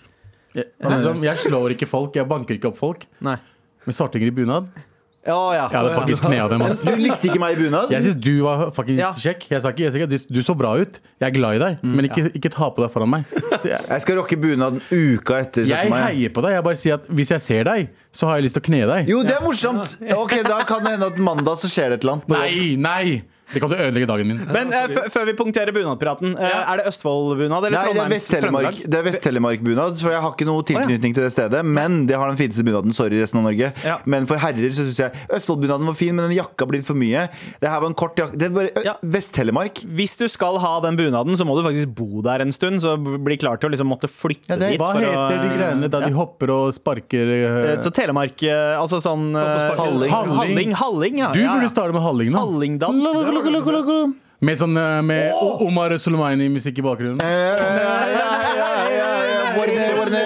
D: Jeg, liksom, jeg slår ikke folk. Jeg banker ikke opp folk.
B: Nei.
D: Med svartinger i bunad.
B: Å ja.
D: Jeg hadde faktisk knea dem. ass.
E: Du likte ikke meg i bunad?
D: Jeg syns du var faktisk
B: Ja.
D: kjekk. Jeg sa ikke, jeg sa ikke du, du så bra ut. Jeg er glad i deg, men ikke, ikke ta på deg foran meg.
E: Jeg skal rocke bunaden uka etter. så
D: Jeg
E: kommer jeg.
D: heier på deg. Jeg bare sier at hvis jeg ser deg, så har jeg lyst til å kne deg.
E: Jo, det er morsomt! Ok, Da kan det hende at mandag så skjer det et eller annet.
D: Nei, nei! Det kommer til å ødelegge dagen min.
B: Men eh, f- før vi punkterer bunadpraten, eh, er det Østfold-bunad eller
E: Nei, det er
B: Trondheims
E: Vest-Telemark
B: Trøndelag?
E: Det er Vest-Telemark-bunad, for jeg har ikke noe tilknytning til det stedet. Men det har den fineste bunaden. Sorry, resten av Norge.
B: Ja.
E: Men for herrer så syns jeg Østfoldbunaden var fin, men den jakka blir for mye. Det her var en kort jakke Det er bare
B: Ja.
E: Ø- Vest-Telemark.
B: Hvis du skal ha den bunaden, så må du faktisk bo der en stund. Så b- bli klar til å liksom måtte flytte
E: Ja, det-
B: dit.
D: Hva
B: for å-
D: heter de greiene da de hopper og sparker eh,
B: Eh, Så Telemark eh, Altså sånn eh,
E: Halling.
B: Halling. Halling, ja.
D: Du
B: ja,
D: burde
B: ja.
D: starte med halling nå.
B: Hallingdans.
D: Med sånn eh, med O- Omar Soleimani-musikk i
E: Eh,
D: bakgrunnen.
C: Sparke,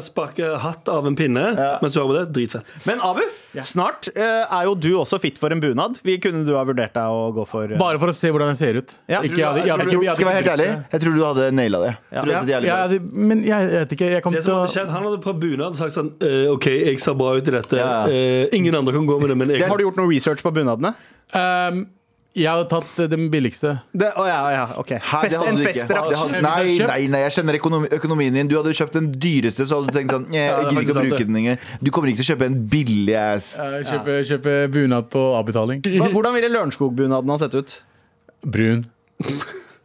C: sparke hatt av en pinne mens du hører på det. Dritfett.
B: Men Abu, snart eh, er jo du også fit for en bunad. Vi kunne du ha vurdert deg å gå for eh,
D: Bare for å se hvordan jeg ser ut.
B: Ja.
D: Ikke, jeg hadde, jeg hadde, ikke- jeg hadde,
E: Skal jeg være helt ærlig, jeg tror du hadde naila det. Du hadde sett
D: Ja,
E: jævlig bra
D: jeg
E: ut.
D: hadde, men jeg, jeg vet ikke. Jeg kom
C: Det
D: til
C: som
D: å
C: hadde skjedd, Han hadde prøvd bunad og sagt sånn «Eh, OK, jeg ser bra ut i dette.
E: Ja.
C: Eh, ingen andre kan gå med det, men jeg
B: Har du gjort noe research på bunadene?
D: Ehm, Jeg hadde tatt eh, den billigste.
B: Det, å, ja, ja, ok
E: Hæ,
B: Fest,
E: det hadde
B: En
E: du ikke. Det
B: festdrakt
E: hadde-
D: Hvis
E: Nei,
D: jeg hadde kjøpt-
E: nei, nei, jeg kjenner økonomi, økonomien din. Du hadde jo kjøpt den dyreste, så hadde du tenkt sånn
C: det
E: Jeg, jeg
C: er
E: gidder ikke å
C: faktisk sant,
E: bruke
C: det.
E: den lenger. Du kommer ikke til å kjøpe en billig ass.
D: Eh, Kjøpe, kjøpe bunad på avbetaling.
B: Hva- Hvordan ville Lørenskog-bunaden ha sett ut?
D: Brun.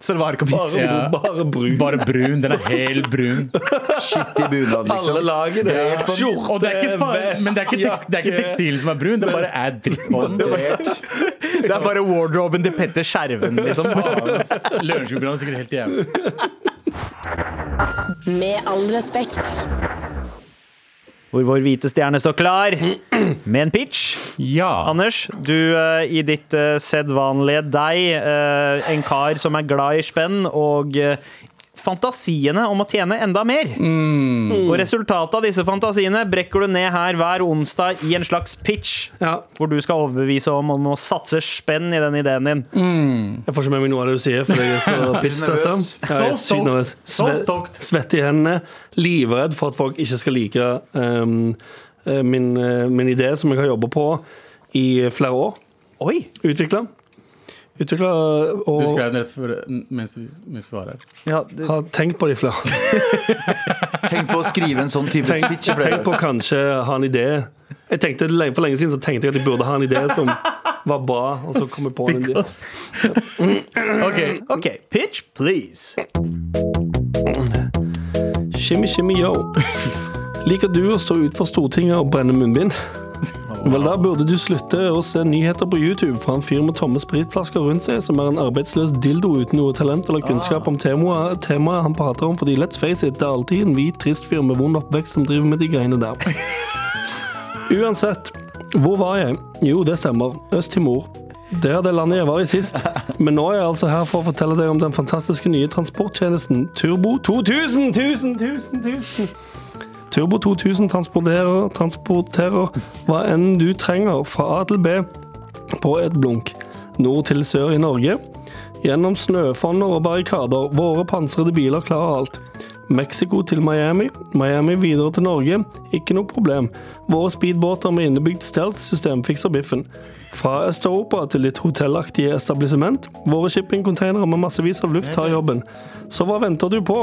B: Så det var ikke minst
C: bare,
D: Ja.
C: bare brun.
D: Bare brun. Den er helt brun.
E: Shitty bunad,
C: Alle
E: liksom.
C: lager det. Skjorte,
D: Og det er ikke, fa-
C: vest,
D: men det er ikke, tekst, det er ikke
C: jakke.
D: tekstilen som er brun, det bare er dritt på den.
B: Det er bare wardroben til Petter Skjerven liksom.
D: Lørenskog-brun er sikkert helt jævlig.
A: Med all respekt.
H: hvor vår hvite stjerne står klar med en pitch.
D: Ja.
H: Anders, du eh, i ditt eh, sedvanlige deg, eh, en kar som er glad i spenn og eh, fantasiene om å tjene enda mer. Og resultatet av disse fantasiene brekker du ned her hver onsdag i en slags pitch,
C: Ja,
H: hvor du skal overbevise om om å satse spenn i den ideen din.
C: jeg får ikke med meg noe av det du sier, for jeg er så pitchstressa. Ja, jeg er sykt nervøs.
D: Så
C: Sve-
D: stokt.
C: Svett i hendene. Livredd for at folk ikke skal like ehm, eh, min, eh, min idé, som jeg har jobba på i flere år.
H: Oi!
C: Utvikla. Utvikla eh,
D: Du
C: og
D: skrev den rett før, mens, vi, mens vi var her.
H: Ja, det,
C: har tenkt på det i flere år.
E: Tenk på å skrive en sånn type
C: Tenk,
E: speech. i flere
C: tenk på å kanskje ha en idé. Jeg tenkte lenge- For lenge siden så tenkte jeg at jeg burde ha en idé som var bra, og så kom jeg på en idé.
D: Ok,
H: OK, pitch, please.
C: Shimmy, shimmy, yo. Liker du å stå utenfor Stortinget og brenne munnbind? Vel, da burde du slutte å se nyheter på YouTube fra en fyr med tomme spritflasker rundt seg, som er en arbeidsløs dildo uten noe talent eller kunnskap om temaet, temaet han prater om, fordi let's face it, det er alltid en hvit, trist fyr med vond oppvekst som driver med de greiene der. Uansett, hvor var jeg? Jo, det stemmer. Øst-Timor. Det er det landet jeg var i sist. Men nå er jeg altså her for å fortelle deg om den fantastiske nye transporttjenesten Turbo 2000! 1000, 1000, 1000. Turbo 2000 transporterer, transporterer hva enn du trenger fra A til B på et blunk. Nord til sør i Norge. Gjennom snøfonner og barrikader. Våre pansrede biler klarer alt. Mexico til Miami, Miami videre til Norge. Ikke noe problem. Våre speedbåter med innebygd stealth-system fikser biffen. Fra Øst-Europa til ditt hotellaktige establishment. Våre shippingcontainere med massevis av luft tar jobben. Så hva venter du på?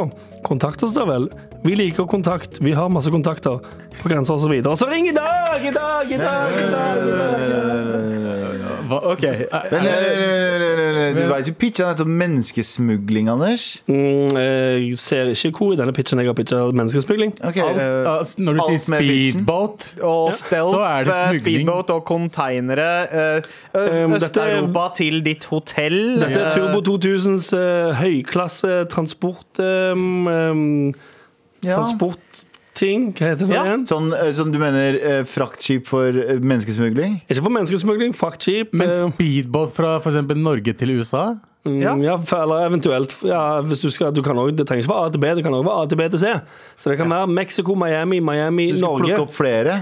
C: Kontakt oss da vel. Vi liker kontakt. Vi har masse kontakter. På grensa og så videre. Så ring i dag! I dag! I dag! I dag! I dag!
D: hva, ok.
E: Men, nei, nei, nei, nei, nei,
C: Eh,
E: nei. Du veit jo pitcha nettopp menneskesmugling, Anders.
C: Mm, jeg ser ikke hvor i denne pitchen jeg har pitcha menneskesmugling.
E: Ok,
D: Alt,
E: eh,
D: uh, s- når du sier
E: alt med fiction.
D: speedboat
H: Og stealth,
D: Så er det
H: eh,
D: smugling.
H: speedboat og konteinere. eh, ø-
C: Um, dette er-
H: Øst-Europa til ditt hotell. Eh,
C: Dette er Turbo 2000s eh, høyklasse transport um, um,
E: Ja.
C: Transportting, hva heter det
H: Ja.
C: igjen?
E: Sånn eh, som du mener eh, fraktskip for eh, menneskesmugling?
C: Ikke for menneskesmugling, fraktskip
D: Men
C: eh,
D: speedboat fra for eksempel Norge til USA?
C: mm,
H: ja.
C: ja, for- Eller eventuelt ja, hvis du, skal, du kan også, Det trenger ikke være A til B, det kan også være A til B til C. Så det kan være Mexico, Miami, Miami,
E: Du skal
C: Norge.
E: plukke opp flere?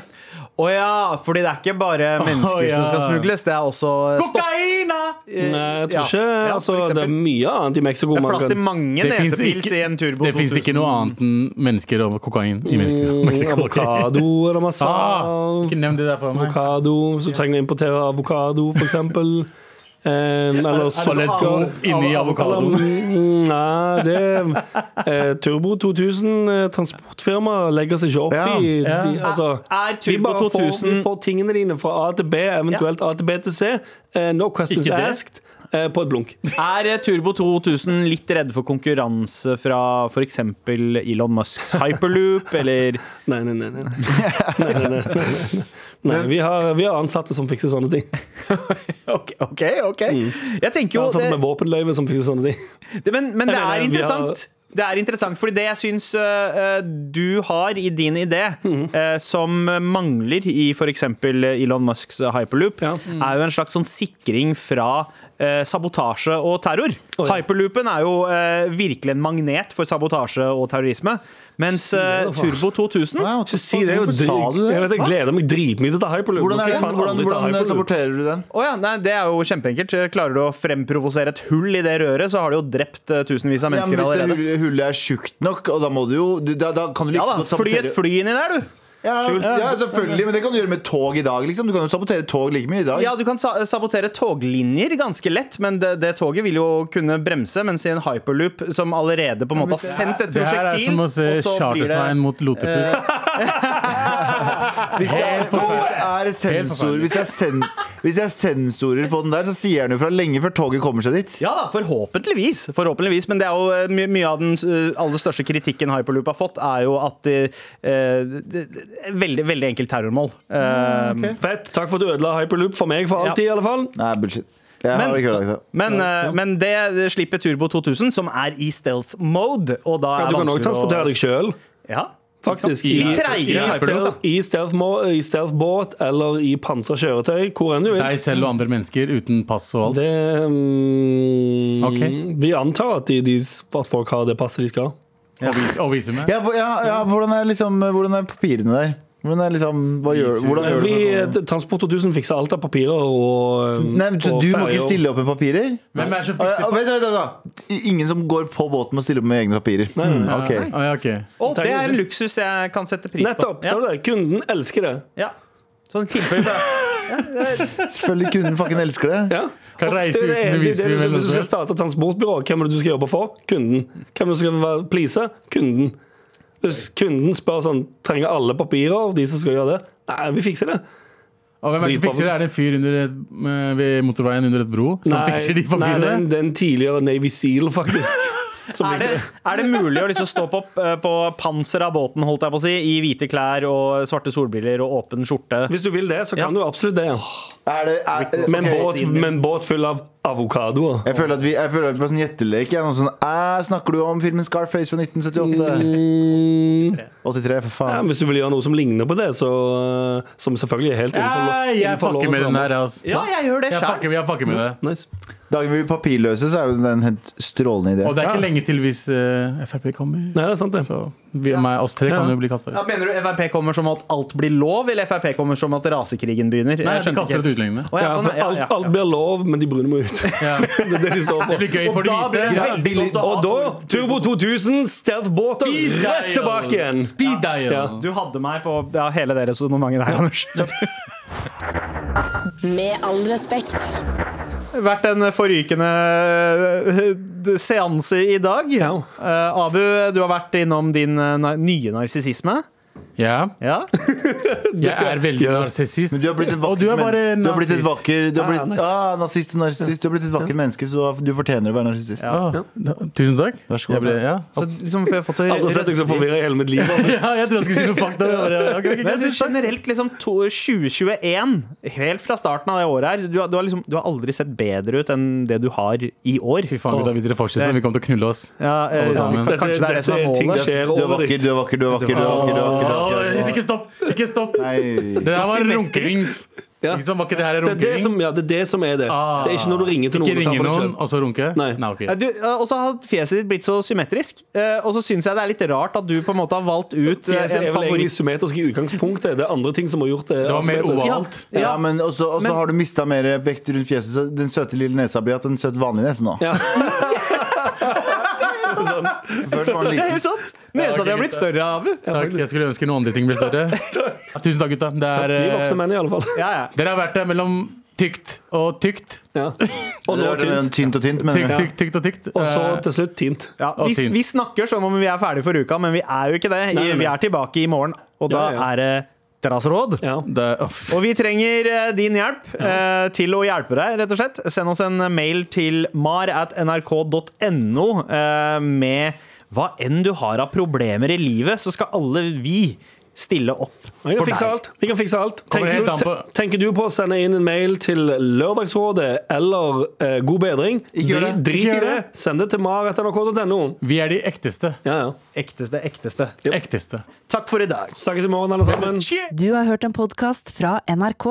H: Å ja, fordi det er ikke bare mennesker
D: Å, ja.
H: som skal smugles, det er også stoff.
D: Kokaina!
C: Nei, Mm, jeg tror
H: eh, Ja.
C: ikke
H: Ja,
C: altså,
H: for eksempel.
C: Det er mye annet i Mexico.
H: Det er
C: man
H: plass
C: kan-
H: til mange
D: Det finnes
H: nesepils
D: ikke-
H: i en turbo.
D: Det fins ikke noe annet enn mennesker og kokain i Mexico. <laughs>
C: Mm,
D: Mexico.
C: Avokado
H: <laughs>
C: eller masse
D: Ah, ikke nevn det der for meg.
C: Avokado, så trenger jeg importere avokado, for eksempel.
H: <laughs>
C: Um, eller solidgo.
D: Toalettgump inni avokadoen.
C: Nei, det eh, Turbo 2000 eh, transportfirma legger seg ikke opp
E: Ja,
C: i
D: ja.
C: de, altså,
H: Er- er
C: Vi
H: Turbo
C: bare får,
H: 2000
C: vi får tingene dine fra A til B, eventuelt A til B til C. Eh, no questions
D: Ikke det.
C: asked. eh, på et blunk.
H: Er eh, Turbo 2000 litt redd for konkurranse fra f.eks. Elon Musks hyperloop, eller
C: Nei, nei, nei. nei. nei, nei, nei, nei, nei. nei vi, har, vi har ansatte som fikser sånne ting.
H: <laughs> OK, OK. ok Jeg tenker jo
C: Ansatte altså,
H: det,
C: med våpenløyve som fikser sånne ting.
H: det, Men, men
C: Jeg mener,
H: det
C: vi
H: er
C: har-
H: interessant. Det er interessant, fordi det jeg syns eh, du har i din idé,
C: Mhm.
H: eh, som mangler i f.eks. Elon Musks hyperloop,
C: Ja.
H: er jo en slags sånn sikring fra eh, sabotasje og terror.
C: Å, ja.
H: Hyperloopen er jo eh, virkelig en magnet for sabotasje og terrorisme, mens eh,
C: da, faen.
H: Turbo 2000
E: Nei, what
C: Ikke Hm?
E: the
C: si
E: fuck,
C: det.
E: Hvorfor
C: Jeg,
E: sa du
C: jeg, vet,
E: det?
C: jeg gleder meg dritmye til å ta hyperloop.
E: Hvordan,
C: Nå skal
E: er
C: jeg
E: den?
C: faen
E: hvordan,
C: aldri ta
E: hvordan eh,
C: hyperloop.
E: saboterer du den?
H: Å ja, nei, det er jo kjempeenkelt. Klarer du å fremprovosere et hull i det røret, så har du jo drept eh, tusenvis
E: Ja,
H: av mennesker
E: men hvis det
H: allerede.
E: hull- hullet er tjukt nok, og da må du jo du- Da, da kan du
H: Ja
E: liksom
H: da,
E: godt
H: fly et
E: sabotere
H: fly inni der, du.
E: ja, ja, selvfølgelig, men det kan du gjøre med tog i dag, liksom. Du kan jo sabotere tog like mye i dag.
H: Ja, du kan sa sabotere toglinjer ganske lett, men det, det toget vil jo kunne bremse, mens i en hyperloop som allerede på en måte har sendt et
D: Det her er
H: prosjektil
D: som å se
H: og så blir det-
D: Chartersveien mot Lotepus.
E: Hvis det er, hvis det er
D: Helt
E: sensor
D: forferdelig.
E: hvis det er, sen, hvis det er sensorer på den der, så sier den jo fra lenge før toget kommer seg dit.
H: Ja da, forhåpentligvis. forhåpentligvis Men det er jo eh, my mye av den eh, aller største kritikken hyperloop har fått, er jo at eh, eh, det- det- Veldig, veldig enkelt terrormål. Eh,
C: Fett. Takk for at du ødela hyperloop for meg for
H: Ja.
C: alltid, i alle fall.
E: Nei, bullshit. Jeg
H: Men-
E: har ikke ødelagt det.
H: Men, eh, men det slipper Turbo 2000, som er i stealth mode. Og da
C: Ja,
H: er
C: du kan også
H: vanskelig å-
C: transportere deg sjøl.
H: Ja.
C: Faktisk.
B: I-
C: I-
B: treigere
C: i
B: hyperloop, da.
C: stealth- I stealth-må- i stealth-båt eller i pansra kjøretøy. Hvor enn du vil.
D: Deg selv og andre mennesker uten pass og alt.
C: Det mm,
D: Ok.
C: Vi antar at, de, de, at folk har det passet de skal.
D: Og, vis, og vise meg.
E: Ja, hvor- ja, ja, hvordan, er liksom, hvordan er papirene der? Hvordan er liksom, hva gjør, hvordan gjør du
C: Vi,
E: det?
C: Transport 2000 fikser alt av papirer og,
E: Nei, men så
C: og
E: du må
C: ferger.
E: ikke stille opp med papirer?
D: Hvem er det som
E: Å, ja,
D: fikser
E: vent, vent, vent, da. Ingen som går på båten og stiller opp med egne papirer? Ok.
D: Å, Ah, ja, ok.
B: Og det er en luksus jeg kan sette pris
C: Nettopp!
B: på.
C: Ser du det? Kunden elsker det.
B: Ja. Ja. Sånn tilfelle
E: Selvfølgelig kunden fucking elsker det.
C: Ja.
D: Kan
C: Og så-
D: reise
C: det er- det
D: uten
C: er
D: bevis
C: det du- Hvis du
D: i
C: skal
D: mellomtiden.
C: starte et transportbyrå, hvem er det du skal jobbe for? Kunden. Hvem er det du skal være- please? Kunden. Hvis kunden spør sånn Trenger alle papirer, de som skal gjøre det? Nei, vi fikser det.
D: Og hvem er det som fikser det? Er det en fyr under et, eh, ved motorveien under et bro som
C: nei,
D: fikser de
C: nei, det, er
D: papirene?
C: en, det er en tidligere Navy Seal,
D: <laughs>
C: faktisk. Som
B: Er det,
C: fikser det.
B: er det mulig å liksom stoppe opp eh, på panseret av båten holdt jeg på å si, i hvite klær og svarte solbriller og åpen skjorte?
C: Hvis du vil det, så kan
B: Ja.
C: du absolutt det.
E: Er det er,
C: Med en
E: ok.
C: båt, med en båt full av avokadoer.
E: Jeg føler at vi, jeg føler at vi er på sånn gjettelek. Jeg er noe sånn, «Æ, snakker du om filmen Scarface fra 1978? 83, for
C: Ja,
E: faen.
C: hvis du vil gjøre noe som ligner på det, så, eh, som selvfølgelig er helt innenfor lo-
D: Nei, jeg
C: innenfor
D: fucker
C: lovens
D: med den
C: rammer.
D: der, altså.
B: Ja, jeg gjør det
D: Jeg
B: sjøl.
D: fucker, jeg fucker med det.
C: Nice.
E: Dagen vi blir papirløse, så er det en helt strålende idé.
D: Og det er
C: Ja.
D: ikke lenge til hvis eh, Frp kommer.
C: Nei, det er sant, det.
D: Så vi, meg, oss tre kan
C: Ja.
D: jo bli kastet ut.
B: Ja, mener du Frp kommer som at alt blir lov, eller Frp kommer som at rasekrigen begynner?
D: Nei,
B: Jeg
D: de
B: skjønte
D: kaster
B: ikke
D: ut utlendingene.
B: helt. Å, ja,
C: Ja,
B: sånn,
C: for
B: ja,
C: alt,
B: ja,
C: alt blir lov, men de brunner må
B: <laughs>
C: ut.
D: Ja.
C: Det er det de står
E: <laughs>
C: for.
D: Det blir gøy for de
B: da blir
D: hvite.
B: det-
E: Greit, billig.
B: Og da-
C: Og da, Turbo 2000, stealth-båter,
D: Speed
C: rett
D: dial.
C: tilbake igjen!
D: Speed dial.
C: Ja.
B: Du hadde meg på ja, hele det resonnementet der, Anders.
A: Med all respekt.
B: Vært en forrykende eh, seanse i dag. Eh, Abu, du har vært innom din eh, na- nye narsissisme.
D: Ja.
B: Ja.
D: Jeg er veldig narsissist.
E: Men du har blitt et vakker,
D: Og du er bare
E: men- du har blitt et
D: nazist.
E: vakker du har
C: Ja,
E: blitt,
C: nice.
E: ah, nazist og narsissist. Du har blitt et vakkert menneske, så du har- du fortjener å være narsissist.
D: Å, da- Tusen takk.
E: Vær så god.
D: Jeg ble, ja.
B: Så liksom, jeg har fått så
C: Aldri Altså, sett deg så forvirra i hele mitt liv.
D: ja, jeg trodde jeg skulle si noe fakta. men jeg bare, ok, ok,
B: Men jeg
D: greit,
B: synes generelt liksom to- 2021, helt fra starten av det året her du har, du, har liksom, du har aldri sett bedre ut enn det du har i år.
D: Fy faen, gutta, hvis dere fortsetter sånn, vi kommer til å knulle oss.
B: Ja, eh,
D: Alle sammen.
B: kanskje det er det som er
C: Dette- dette er ting
B: målet.
C: som skjer
E: Du er
C: over
E: vakker,
C: ditt.
E: du er vakker, du er vakker. Du er vakker, du er vakker, du er vakker.
D: Ikke stopp! Ikke stopp!
E: Nei.
D: Det her var
B: Symmetrisk.
D: runkering.
C: Ja.
D: Ikke sant, var ikke det her
C: Det er det
D: runkering?
C: som, ja, det er det som er det.
B: Ah.
C: Det er ikke når du ringer til
D: Ikke
C: noen og tar
D: ringe
C: på deg
D: noen,
C: selv.
D: og så runke?
C: Nei.
D: Nei ok.
B: Ja, du, eh, og så har fjeset ditt blitt så symmetrisk. eh, Og så syns jeg det er litt rart at du på en måte har valgt ut eh,
C: Fjeset
B: en
C: er vel
B: favoritt.
C: egentlig symmetrisk i utgangspunktet. Det er andre ting som har gjort det. Altså,
D: Det var mer
C: asymmetrisk.
D: ovalt.
E: Ja, men også, også har du mista mer vekt rundt fjeset, så den søte lille nesa blir hatt en søt vanlig nese nå. <laughs>
C: Ja.
E: Først var
B: Det er
E: den liten.
B: helt sant! Nesa di har blitt større, Abu.
D: Takk, jeg skulle ønske noen andre ting
C: <laughs>
D: ble større. Tusen takk, gutta. Det er,
C: Vi er
D: eh,
C: voksne menn, i
B: <laughs>
C: alle fall.
B: Ja, ja.
D: dere har vært der mellom tykt og tykt.
C: Ja. Og
E: Det
C: nå
E: var det mellom
C: tynt.
E: tynt og tynt,
D: Tykt,
E: men
D: tykt, tykt og tykt.
C: Og så
D: Eh,
C: til slutt tint.
B: Ja,
D: Og
B: vi,
D: fint.
B: vi snakker sånn om vi er ferdige for uka, men vi er jo ikke det.
C: Nei, nei, nei.
B: Vi er tilbake i morgen, og da
C: Ja, ja.
B: er det deres råd.
C: Ja.
D: det, åh,
B: Og vi trenger eh, din hjelp eh, til å hjelpe deg, rett og slett. Send oss en mail til mar at nrk.no eh, med hva enn du har av problemer i livet, så skal alle vi stille opp
C: Vi kan
B: for
C: fikse
B: deg.
C: alt. Vi kan fikse alt.
D: Kommer
C: Tenker,
D: helt
C: du,
D: an på-
C: te- tenker du på å sende inn en mail til Lørdagsrådet eller eh, God bedring? Dri,
E: gjør det.
C: drit
D: Ikke
C: i
D: gjør
C: det.
D: det.
C: Send det til mar.nrk.no.
D: vi er de ekteste.
C: Ja, ja.
B: Ekteste, ekteste.
D: Ekteste.
B: Takk for i dag.
C: Snakkes i morgen, alle sammen.
I: Du har hørt en podkast fra NRK.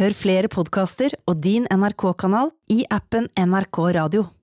I: Hør flere podkaster og din NRK-kanal i appen NRK Radio.